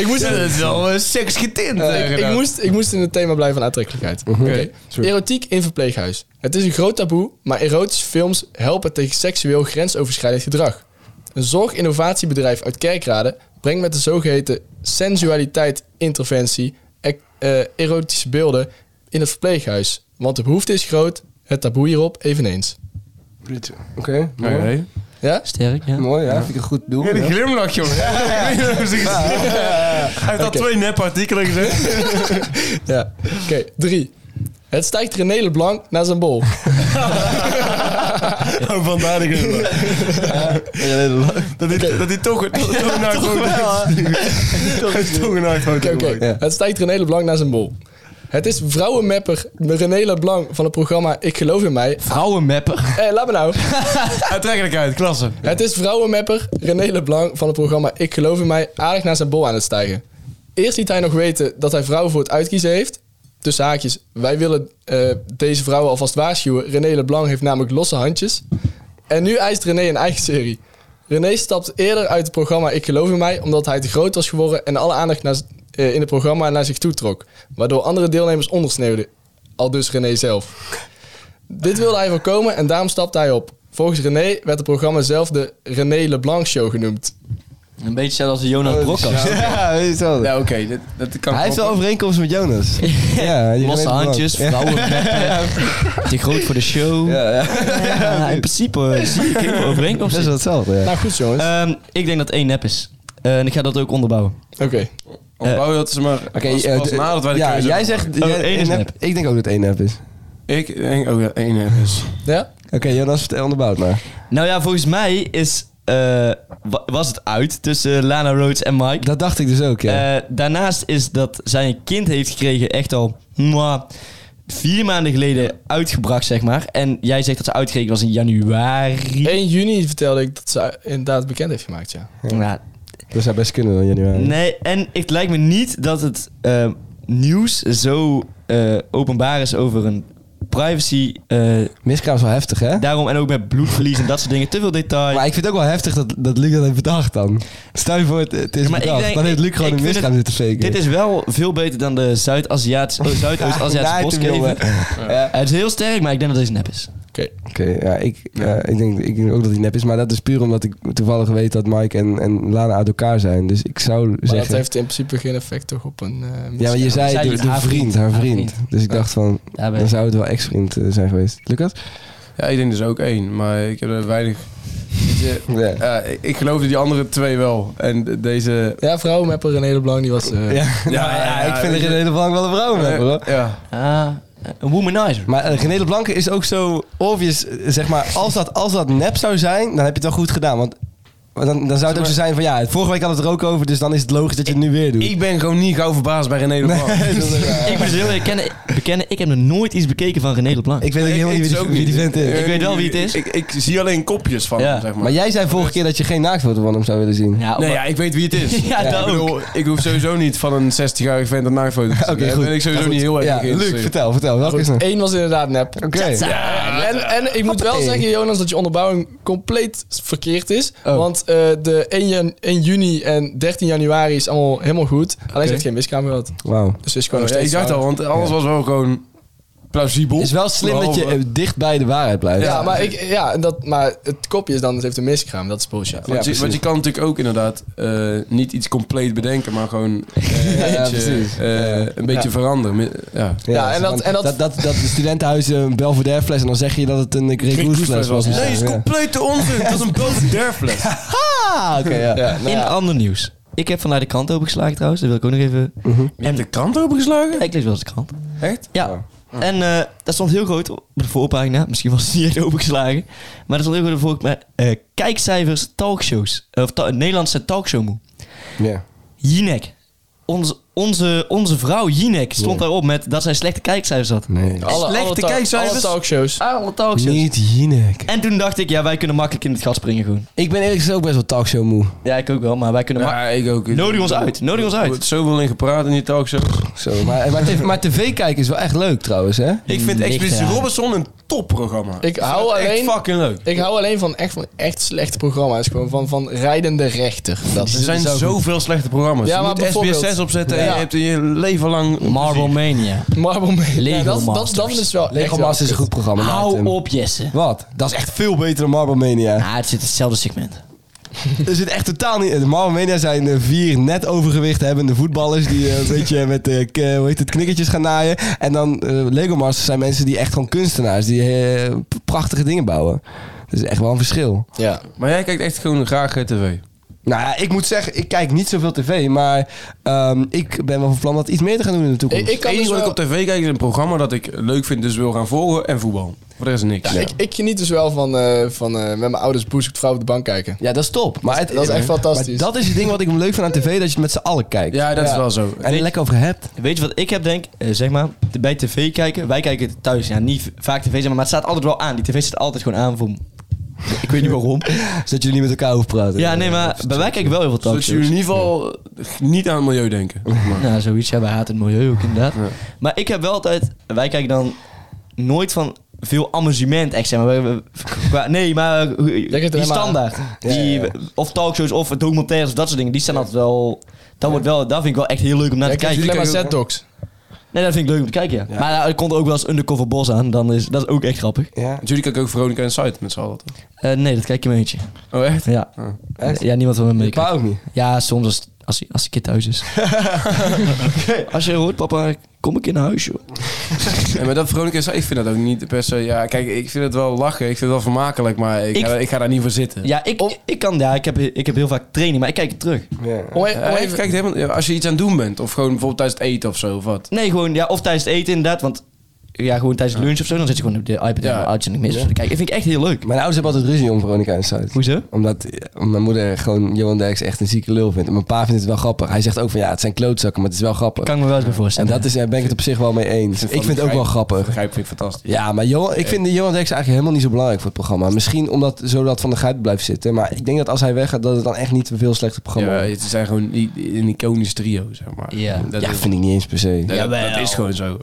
[SPEAKER 3] Ik moest,
[SPEAKER 4] dat is wel eh, seks getint.
[SPEAKER 3] Eh,
[SPEAKER 4] eh,
[SPEAKER 3] ik, ik
[SPEAKER 4] gedaan.
[SPEAKER 3] moest, ik moest in het thema blijven van aantrekkelijkheid. Oké. Erotiek in verpleeghuis. Het is een groot taboe, maar erotische films helpen tegen seksueel grensoverschrijdend gedrag. Een zorginnovatiebedrijf uit Kerkrade brengt met de zogeheten sensualiteit-interventie ec- eh, erotische beelden in het verpleeghuis. Want de behoefte is groot, het taboe hierop eveneens.
[SPEAKER 2] Oké,
[SPEAKER 4] Oké.
[SPEAKER 2] mooi.
[SPEAKER 3] Ja?
[SPEAKER 5] Sterk, ja.
[SPEAKER 2] Mooi, ja. Vind ik een goed doel.
[SPEAKER 4] Ja, die
[SPEAKER 2] ja.
[SPEAKER 4] glimlach, jongen. Ik weet niet hoe ze- Hij heeft al
[SPEAKER 3] Oké.
[SPEAKER 4] twee nepartikelen gezegd.
[SPEAKER 3] Ja. Oké, drie. Het stijgt René Leblanc naar zijn bol.
[SPEAKER 4] Oh, vandaar de glimlach. Dat hij, dat hij toch een tongenaar groot
[SPEAKER 3] Oké, oké.
[SPEAKER 2] Ja.
[SPEAKER 3] Het stijgt René Leblanc naar zijn bol. Het is vrouwenmapper René Leblanc van het programma Ik Geloof in Mij.
[SPEAKER 5] Vrouwenmapper.
[SPEAKER 3] Hé, laat me nou.
[SPEAKER 4] Aantrekkelijkheid, klasse.
[SPEAKER 3] Het is vrouwenmapper René Leblanc van het programma Ik Geloof in Mij aardig naar zijn bol aan het stijgen. Eerst liet hij nog weten dat hij vrouwen voor het uitkiezen heeft. Tussen haakjes, wij willen eh, deze vrouwen alvast waarschuwen. René Leblanc heeft namelijk losse handjes. En nu eist René een eigen serie. René stapt eerder uit het programma Ik Geloof in Mij omdat hij te groot was geworden en alle aandacht naar z- eh, in het programma naar zich toe trok. Waardoor andere deelnemers ondersneeuwden. Al dus René zelf. Dit wilde hij voorkomen en daarom stapte hij op. Volgens René werd het programma zelf de René Leblanc Show genoemd.
[SPEAKER 5] Een beetje zelfs als de Jonas
[SPEAKER 2] Oh,
[SPEAKER 5] Brokkast.
[SPEAKER 2] Ja, weet je hetzelfde.
[SPEAKER 4] Ja, oké. dit- Dat kan
[SPEAKER 2] Hij heeft wel overeenkomst met Jonas. Ja, je weet
[SPEAKER 5] Losse
[SPEAKER 2] het wel.
[SPEAKER 5] handjes,
[SPEAKER 2] Ja.
[SPEAKER 5] vrouwen
[SPEAKER 2] eh,
[SPEAKER 5] Te groot voor de show.
[SPEAKER 2] Ja, ja.
[SPEAKER 5] Ja, in principe eh, zie ik heel veel
[SPEAKER 2] Dat is
[SPEAKER 5] overeenkomsten.
[SPEAKER 2] wel hetzelfde, ja.
[SPEAKER 3] Nou goed jongens.
[SPEAKER 5] Ehm, ik denk dat één nep is. Eh, en ik ga dat ook onderbouwen.
[SPEAKER 3] Oké.
[SPEAKER 4] Ontbouw Oh, dat ze maar... Oké, pas,
[SPEAKER 2] eh,
[SPEAKER 4] pas
[SPEAKER 2] d-
[SPEAKER 4] nadat wij de
[SPEAKER 2] ja,
[SPEAKER 4] keuze
[SPEAKER 2] jij
[SPEAKER 4] hebben.
[SPEAKER 2] zegt...
[SPEAKER 5] Oh,
[SPEAKER 2] jij-
[SPEAKER 5] één is
[SPEAKER 2] nep.
[SPEAKER 5] nep.
[SPEAKER 2] Ik denk ook dat één nep is.
[SPEAKER 4] Ik denk ook dat één eh, dus. nep is.
[SPEAKER 3] Ja?
[SPEAKER 2] Oké, Jonas, vertel onderbouwd maar.
[SPEAKER 5] Nou ja, volgens mij is, eh, wa- was het uit tussen eh, Lana Rhodes en Mike.
[SPEAKER 2] Dat dacht ik dus ook, ja.
[SPEAKER 5] Eh, daarnaast is dat zij een kind heeft gekregen echt al mwah, vier maanden geleden uitgebracht, zeg maar. En jij zegt dat ze uitgerekend was in januari.
[SPEAKER 3] 1 juni vertelde ik dat ze inderdaad bekend heeft gemaakt, ja.
[SPEAKER 5] Nou,
[SPEAKER 2] dat zou best kunnen dan, januari.
[SPEAKER 5] Nee, en het lijkt ehm, me niet dat het eh, nieuws zo eh, openbaar is over een privacy, eh,
[SPEAKER 2] Miskraam is wel heftig, hè?
[SPEAKER 5] daarom en ook met bloedverlies en dat soort dingen, te veel detail.
[SPEAKER 2] Maar ik vind het ook wel heftig dat, dat Luc dat heeft bedacht dan. Stel je voor, het, het is
[SPEAKER 5] Ja, maar ik
[SPEAKER 2] bedacht.
[SPEAKER 5] denk-
[SPEAKER 2] dan heeft Luc
[SPEAKER 5] ik-
[SPEAKER 2] gewoon
[SPEAKER 5] ik
[SPEAKER 2] een
[SPEAKER 5] vind
[SPEAKER 2] miskraam
[SPEAKER 5] het-
[SPEAKER 2] zitten faken.
[SPEAKER 5] Dit is wel veel beter dan de Zuid-Aziatische oh, Zuidoost-Aziatische
[SPEAKER 2] Ja,
[SPEAKER 5] postkever.
[SPEAKER 2] jongen.
[SPEAKER 5] Ja. Het is heel sterk, maar ik denk dat deze nep is.
[SPEAKER 2] Oké, ja, ik, eh, ik, denk, ik denk ook dat hij nep is. Maar dat is puur omdat ik toevallig weet dat Mike en, en Lana uit elkaar zijn. Dus ik zou
[SPEAKER 3] Maar
[SPEAKER 2] zeggen...
[SPEAKER 3] dat heeft in principe geen effect toch op een... eh,
[SPEAKER 2] Ja, maar je zei
[SPEAKER 5] zei
[SPEAKER 2] de,
[SPEAKER 5] niet
[SPEAKER 2] de
[SPEAKER 5] haar
[SPEAKER 2] vriend,
[SPEAKER 5] vriend,
[SPEAKER 2] haar
[SPEAKER 5] haar
[SPEAKER 2] vriend. Dus ik dacht van,
[SPEAKER 5] Daar ben
[SPEAKER 2] dan
[SPEAKER 5] ik.
[SPEAKER 2] zou het wel ex-vriend eh, zijn geweest. Lucas?
[SPEAKER 4] Ja, ik denk dus ook één, maar ik heb er weinig... Weet je,
[SPEAKER 2] Ja.
[SPEAKER 4] eh, ik- ik geloofde die andere twee wel. En de- deze... Nou,
[SPEAKER 3] Ja, vrouwenmapper René Leblanc, die was... eh,
[SPEAKER 2] Ja,
[SPEAKER 4] ja,
[SPEAKER 2] ik vind
[SPEAKER 4] weet
[SPEAKER 2] er
[SPEAKER 4] je.
[SPEAKER 2] in hele belang wel een vrouw mee, hoor.
[SPEAKER 4] Eh, ja.
[SPEAKER 5] Ah, een womanizer.
[SPEAKER 2] Maar eh, René Blanke is ook zo obvious. eh, Zeg maar, als dat, als dat nep zou zijn, dan heb je het wel goed gedaan. Want want dan, dan zou het ook zo zijn van, ja, vorige week hadden we het er ook over. Dus dan is het logisch dat je het nu weer doet.
[SPEAKER 4] Ik ben gewoon niet gauw verbaasd bij René de Blanc.
[SPEAKER 5] Ik moet dus heel eerlijk kennen- bekennen, ik heb nog nooit iets bekeken van René Leblanc.
[SPEAKER 2] ik weet ook helemaal
[SPEAKER 4] Ik-
[SPEAKER 2] niet
[SPEAKER 4] ik
[SPEAKER 2] wie die,
[SPEAKER 4] Eh,
[SPEAKER 2] wie
[SPEAKER 4] ook Eh,
[SPEAKER 2] die vent is.
[SPEAKER 5] Ik weet wel wie het is.
[SPEAKER 4] Ik, ik zie alleen kopjes van
[SPEAKER 5] Ja.
[SPEAKER 4] hem, zeg maar.
[SPEAKER 2] Maar jij zei vorige keer dat je geen naaktfoto van hem zou willen zien.
[SPEAKER 5] ja,
[SPEAKER 4] Nee,
[SPEAKER 5] maar-
[SPEAKER 4] ja, ik weet wie het is.
[SPEAKER 5] Ja, dat
[SPEAKER 4] ik, bedoel, ik hoef sowieso niet van een 60-jarige vent een naaktfoto te zien.
[SPEAKER 2] Oké,
[SPEAKER 4] Daar
[SPEAKER 2] goed.
[SPEAKER 4] ben ik sowieso
[SPEAKER 2] Ja, goed.
[SPEAKER 4] niet heel erg
[SPEAKER 2] Ja, Luc,
[SPEAKER 4] geïnteresseerd.
[SPEAKER 2] vertel, vertel. Welke is
[SPEAKER 3] Goed,
[SPEAKER 2] het?
[SPEAKER 3] één was inderdaad nep.
[SPEAKER 2] Oké.
[SPEAKER 3] En, en ik moet wel
[SPEAKER 2] Hoppatee.
[SPEAKER 3] zeggen, Jonas, dat je onderbouwing compleet verkeerd is.
[SPEAKER 2] Oh.
[SPEAKER 3] Want eh, de 1, jan- 1 juni en 13 januari is allemaal helemaal goed. Alleen ze heeft geen wiskamer gehad.
[SPEAKER 2] Wauw.
[SPEAKER 3] Dus ze is gewoon nog
[SPEAKER 4] Ja, ik
[SPEAKER 3] steeds
[SPEAKER 4] dacht al,
[SPEAKER 3] zwanger.
[SPEAKER 4] want alles was wel gewoon plausibel.
[SPEAKER 2] is wel slim dat je
[SPEAKER 4] Behalve-
[SPEAKER 2] eh, dicht bij de waarheid blijft.
[SPEAKER 3] Ja, maar, ik, ja en dat, maar het kopje is dan, ze heeft een miskraam. Dat is bullshit.
[SPEAKER 4] Want, je,
[SPEAKER 2] precies.
[SPEAKER 4] want je kan natuurlijk ook inderdaad eh, niet iets compleet bedenken, maar gewoon eh,
[SPEAKER 2] Ja,
[SPEAKER 4] eentje,
[SPEAKER 2] precies.
[SPEAKER 4] eh,
[SPEAKER 2] Ja.
[SPEAKER 4] een beetje
[SPEAKER 3] Ja.
[SPEAKER 4] veranderen. Mi- Ja.
[SPEAKER 3] Ja, en dat-
[SPEAKER 2] want
[SPEAKER 3] en dat-
[SPEAKER 2] dat, dat, dat de studentenhuis een Belvedere fles en dan zeg je dat het een Grey Goose fles was.
[SPEAKER 4] Nee, is complete onzin. Dat is een boven derfles.
[SPEAKER 2] Ah, oké, ja.
[SPEAKER 3] nou
[SPEAKER 5] in ander nieuws. Ik heb vandaag de krant opengeslagen trouwens, dat wil ik ook nog even...
[SPEAKER 4] Je hebt de krant opengeslagen?
[SPEAKER 5] Ik lees wel eens de krant.
[SPEAKER 4] Echt?
[SPEAKER 5] Ja. En eh daar stond heel groot op de voorpagina. Misschien was het niet echt opengeslagen. Maar er stond heel groot op de voorpagina. eh, kijkcijfers talkshows. Of ta Nederlandse talkshow moe.
[SPEAKER 2] Ja.
[SPEAKER 5] Jinek. Onze, onze, onze vrouw Jinek stond daarop met dat zij slechte kijkcijfers had.
[SPEAKER 2] Nee.
[SPEAKER 3] Oh,
[SPEAKER 5] Slechte
[SPEAKER 3] ta-
[SPEAKER 5] kijkcijfers?
[SPEAKER 3] alle talkshows.
[SPEAKER 5] Alle talkshows.
[SPEAKER 2] Niet Jinek.
[SPEAKER 5] En toen dacht ik, ja, wij kunnen makkelijk in het gat springen gewoon.
[SPEAKER 2] Ik ben eerlijk gezegd ook best wel talkshow moe.
[SPEAKER 5] Ja, ik ook wel, maar wij kunnen makkelijk...
[SPEAKER 4] Ja, ik ook.
[SPEAKER 5] Nodig ons uit, nodig ons
[SPEAKER 4] Er
[SPEAKER 5] uit.
[SPEAKER 4] wordt zoveel in gepraat in die talkshows.
[SPEAKER 2] Zo, maar, maar, tv, maar tv kijken is wel echt leuk trouwens, hè?
[SPEAKER 4] Ik vind
[SPEAKER 3] Mm,
[SPEAKER 4] Expeditie
[SPEAKER 5] eraan.
[SPEAKER 4] Robinson een topprogramma.
[SPEAKER 3] Ik hou
[SPEAKER 4] Echt
[SPEAKER 3] alleen-
[SPEAKER 4] fucking leuk.
[SPEAKER 3] Ik hou alleen van echt, van echt slechte programma's. Gewoon van, van rijdende rechter. Dat
[SPEAKER 4] Er zijn zoveel slechte programma's.
[SPEAKER 3] Ja,
[SPEAKER 4] je
[SPEAKER 3] maar
[SPEAKER 4] moet
[SPEAKER 3] bijvoorbeeld-
[SPEAKER 4] SBS6 opzetten en
[SPEAKER 3] Ja.
[SPEAKER 4] je hebt je leven lang...
[SPEAKER 5] Marble Mania.
[SPEAKER 3] Marble Man.
[SPEAKER 5] Lego
[SPEAKER 3] Ja, dat, dat,
[SPEAKER 5] Masters.
[SPEAKER 3] dat is wel echt
[SPEAKER 2] Lego
[SPEAKER 3] wel
[SPEAKER 2] Masters is een
[SPEAKER 3] kut.
[SPEAKER 2] goed programma. laat
[SPEAKER 5] Hou
[SPEAKER 2] hem.
[SPEAKER 5] op, Jesse.
[SPEAKER 2] Wat? Dat is echt veel beter dan Marble Mania.
[SPEAKER 5] Ah, het zit in hetzelfde segment.
[SPEAKER 2] Er zit echt totaal niet... De Marble Mania zijn eh, vier net overgewicht hebbende voetballers... die eh, een beetje met eh, k- hoe heet het, knikkertjes gaan naaien. En dan eh, Lego Masters zijn mensen die echt gewoon kunstenaars... die eh, p- prachtige dingen bouwen. Dat is echt wel een verschil.
[SPEAKER 3] Ja.
[SPEAKER 4] Maar jij kijkt echt gewoon graag eh, tv.
[SPEAKER 2] Nou ja, ik moet zeggen, ik kijk niet zoveel tv... maar ehm, ik ben wel van plan dat iets meer te gaan doen in de toekomst.
[SPEAKER 3] Ik, ik
[SPEAKER 4] Het
[SPEAKER 3] kan
[SPEAKER 4] enige
[SPEAKER 3] dus
[SPEAKER 4] wat
[SPEAKER 3] wel-
[SPEAKER 4] ik op tv kijk is een programma dat ik leuk vind, dus wil gaan volgen en voetbal. Voor de rest niks.
[SPEAKER 3] Ja, Ik, ik geniet dus wel van, eh, van eh, met mijn ouders Boer zoekt vrouw op de bank kijken.
[SPEAKER 2] Ja, dat is top. Maar het,
[SPEAKER 3] dat is echt fantastisch.
[SPEAKER 2] Maar dat is het ding wat ik leuk vind aan tv, dat je het met z'n allen kijkt.
[SPEAKER 4] Ja, dat is
[SPEAKER 3] Ja.
[SPEAKER 4] wel zo.
[SPEAKER 2] En er lekker over hebt.
[SPEAKER 5] Weet je wat ik heb, denk eh, Zeg maar, t- bij tv kijken. Wij kijken het thuis. Ja, niet v- vaak tv, zeg maar, maar het staat altijd wel aan. Die tv staat altijd gewoon aan voor... m- Ik weet niet waarom.
[SPEAKER 2] Zodat jullie niet met elkaar hoeven praten.
[SPEAKER 5] Ja, nee, maar bij wij kijken wel heel veel
[SPEAKER 4] Zodat jullie
[SPEAKER 5] talkshows.
[SPEAKER 4] in ieder geval eh, niet aan het milieu denken.
[SPEAKER 5] Nou, zoiets. Ja, wij haten het milieu ook inderdaad. Maar ik heb wel altijd... Wij kijken dan nooit van veel amusement, echt zeg maar. Wij- wij- qua- nee, maar eh,
[SPEAKER 3] kijkt
[SPEAKER 5] die
[SPEAKER 3] alleen maar-
[SPEAKER 5] standaard. Die, Of talkshows of documentaires of dat soort dingen. Die staan altijd wel... Dat, wordt wel, dat vind ik wel echt heel leuk om naar te
[SPEAKER 3] Ja,
[SPEAKER 5] kijken.
[SPEAKER 3] alleen maar
[SPEAKER 4] Kijk ook-
[SPEAKER 3] Z-Dogs.
[SPEAKER 5] Nee, dat vind ik leuk om te kijken, ja. Maar daar komt ook wel eens Undercover Bos aan. Dan is, dat is ook echt grappig.
[SPEAKER 2] Ja.
[SPEAKER 4] Jullie kijken ook Veronica en Site met z'n allen. toch?
[SPEAKER 5] Eh, nee, dat kijk je in mijn eentje.
[SPEAKER 4] Oh, echt?
[SPEAKER 5] Ja. Eh,
[SPEAKER 2] echt?
[SPEAKER 5] Ja, niemand wil me
[SPEAKER 2] Ik
[SPEAKER 5] meekijken.
[SPEAKER 2] ook niet.
[SPEAKER 5] Ja, soms als, als, hij- als hij een keer thuis is. Als je hoort, papa, kom ik in huis, joh.
[SPEAKER 4] En met dat Veronica en Site, ik vind dat ook niet per se... Ja, kijk, ik vind het wel lachen. Ik vind het wel vermakelijk, maar ik,
[SPEAKER 5] Ik-
[SPEAKER 4] Ga, ik ga daar niet voor zitten.
[SPEAKER 5] Ja, ik, ik kan, ja, ik heb, ik heb heel vaak training, maar ik kijk het terug.
[SPEAKER 3] Om e-
[SPEAKER 4] Eh,
[SPEAKER 3] om
[SPEAKER 4] even
[SPEAKER 3] even-
[SPEAKER 4] kijken, helemaal- ja, als je iets aan het doen bent. Of gewoon bijvoorbeeld tijdens het eten of zo, of wat.
[SPEAKER 5] Nee, gewoon, ja, of tijdens het eten inderdaad, want... Ja, gewoon tijdens lunch of zo, dan zit je gewoon op de iPad
[SPEAKER 4] Ja.
[SPEAKER 5] en de oudjes en ik mis. Dus Kijk, dat vind ik echt heel leuk.
[SPEAKER 2] Mijn ouders hebben altijd ruzie om Veronica en Zuid.
[SPEAKER 5] Hoezo?
[SPEAKER 2] Omdat eh, omdat mijn moeder gewoon Johan Derks echt een zieke lul vindt. En mijn pa vindt het wel grappig. Hij zegt ook van ja, het zijn klootzakken, maar het is wel grappig.
[SPEAKER 5] Kan ik me wel eens bij
[SPEAKER 2] En
[SPEAKER 5] voorstellen.
[SPEAKER 2] dat is, daar ben ik het op zich wel mee eens. Ik vind het ook wel grappig.
[SPEAKER 4] Begrijp vind ik fantastisch.
[SPEAKER 2] Ja, maar Johan, ik vind de Johan Derks eigenlijk helemaal niet zo belangrijk voor het programma. Misschien omdat zodat Van der Gijp blijft zitten. Maar ik denk dat als hij weggaat, dat het dan echt niet een veel slechter programma
[SPEAKER 4] Ja,
[SPEAKER 2] wordt.
[SPEAKER 4] het zijn gewoon i- een iconisch trio, zeg maar.
[SPEAKER 5] Ja.
[SPEAKER 4] dat
[SPEAKER 2] Ja,
[SPEAKER 4] is,
[SPEAKER 2] vind ik niet eens per se.
[SPEAKER 4] dat, dat
[SPEAKER 5] Jawel.
[SPEAKER 4] is gewoon zo.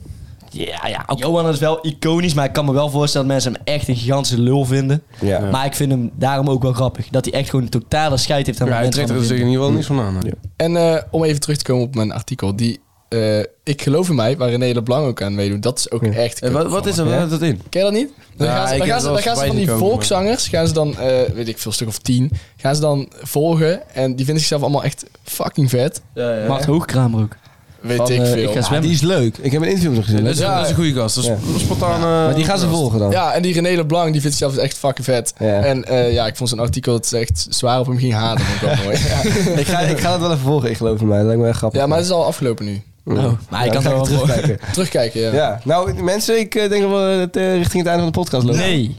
[SPEAKER 5] Ja, ja. Johan is wel iconisch, maar ik kan me wel voorstellen dat mensen hem echt een gigantische lul vinden.
[SPEAKER 2] Ja.
[SPEAKER 5] Maar ik vind hem daarom ook wel grappig. Dat hij echt gewoon een totale scheid heeft aan
[SPEAKER 4] Ja,
[SPEAKER 5] wat
[SPEAKER 4] hij
[SPEAKER 5] mensen
[SPEAKER 4] trekt
[SPEAKER 5] van
[SPEAKER 4] er
[SPEAKER 5] hem
[SPEAKER 4] zich in
[SPEAKER 5] vinden.
[SPEAKER 4] ieder geval niks van aan. hè.
[SPEAKER 3] En eh, om even terug te komen op mijn artikel. Die, eh, ik geloof in mij, waar René Leblanc ook aan meedoet. Dat is ook echt...
[SPEAKER 4] En wat, wat is er
[SPEAKER 3] dat?
[SPEAKER 4] wat dat in?
[SPEAKER 3] Ken je dat niet? Dan
[SPEAKER 4] Ja,
[SPEAKER 3] gaan ze,
[SPEAKER 4] ik
[SPEAKER 3] dan
[SPEAKER 4] heb
[SPEAKER 3] gaan ze,
[SPEAKER 4] wel
[SPEAKER 3] dan gaan ze van die
[SPEAKER 4] voorbij gekomen,
[SPEAKER 3] volkszangers, gaan ze dan, eh, weet ik veel, een stuk of tien, gaan ze dan volgen. En die vinden zichzelf allemaal echt fucking vet.
[SPEAKER 5] Mart Hoogkramer ook.
[SPEAKER 3] Weet
[SPEAKER 5] Van,
[SPEAKER 3] ik
[SPEAKER 5] eh,
[SPEAKER 3] veel. Ah,
[SPEAKER 5] ik ga zwemmen.
[SPEAKER 2] Die is leuk. Ik heb een interview met hem gezien.
[SPEAKER 4] Dat is,
[SPEAKER 3] Ja. dus-
[SPEAKER 4] dat is een goede gast. Dat is spontaan... eh,
[SPEAKER 2] Maar die gaan ze volgen dan.
[SPEAKER 3] Ja, en die René Leblanc, die vindt zichzelf dus echt fucking vet.
[SPEAKER 2] Ja.
[SPEAKER 3] En eh, ja, ik vond zijn artikel dat ze echt zwaar op hem ging haten. Vond ik wel mooi. Ja.
[SPEAKER 2] ik, ga, ik ga dat wel even volgen, ik geloof in mij. Dat lijkt me echt grappig.
[SPEAKER 3] ja, maar het is al afgelopen nu.
[SPEAKER 5] Oh. Maar ik kan
[SPEAKER 2] ga
[SPEAKER 5] wel
[SPEAKER 2] ik terugkijken.
[SPEAKER 3] Terugkijken, ja.
[SPEAKER 2] Ja, nou mensen, ik eh, denk dat we het, eh, richting het einde van de podcast lopen.
[SPEAKER 5] Nee,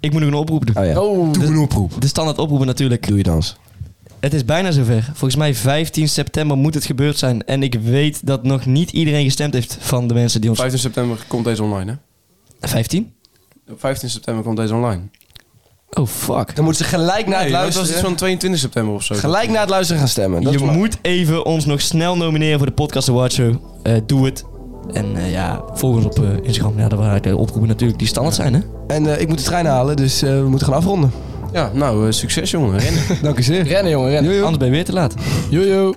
[SPEAKER 5] ik moet nog een oproep doen.
[SPEAKER 2] Oh ja.
[SPEAKER 3] Oh,
[SPEAKER 2] Doe een oproep.
[SPEAKER 5] De standaard oproepen natuurlijk.
[SPEAKER 2] Doe je dans.
[SPEAKER 5] Het is bijna zover. Volgens mij 15 september moet het gebeurd zijn. En ik weet dat nog niet iedereen gestemd heeft van de mensen die ons...
[SPEAKER 4] 15 september komt deze online, hè?
[SPEAKER 5] 15?
[SPEAKER 4] 15 september komt deze online.
[SPEAKER 5] Oh, fuck.
[SPEAKER 2] Dan moeten ze gelijk na het
[SPEAKER 4] Nee, dat was
[SPEAKER 2] luisteren,
[SPEAKER 4] iets van 22 september of zo.
[SPEAKER 2] gelijk na het luisteren gaan stemmen. Dat
[SPEAKER 5] Je
[SPEAKER 2] is maar-
[SPEAKER 5] moet even ons nog snel nomineren voor de Podcast Award Show. Eh, doe het. En eh, ja, volg ons op eh, Instagram. Ja, daar waren de oproepen natuurlijk die standaard zijn, hè?
[SPEAKER 2] En eh, ik moet de trein halen, dus eh, we moeten gaan afronden.
[SPEAKER 4] Ja, nou, eh, succes jongen. Rennen.
[SPEAKER 2] Dank u zeer.
[SPEAKER 3] rennen jongen, rennen.
[SPEAKER 5] Anders ben je weer te laat.
[SPEAKER 3] Jojo.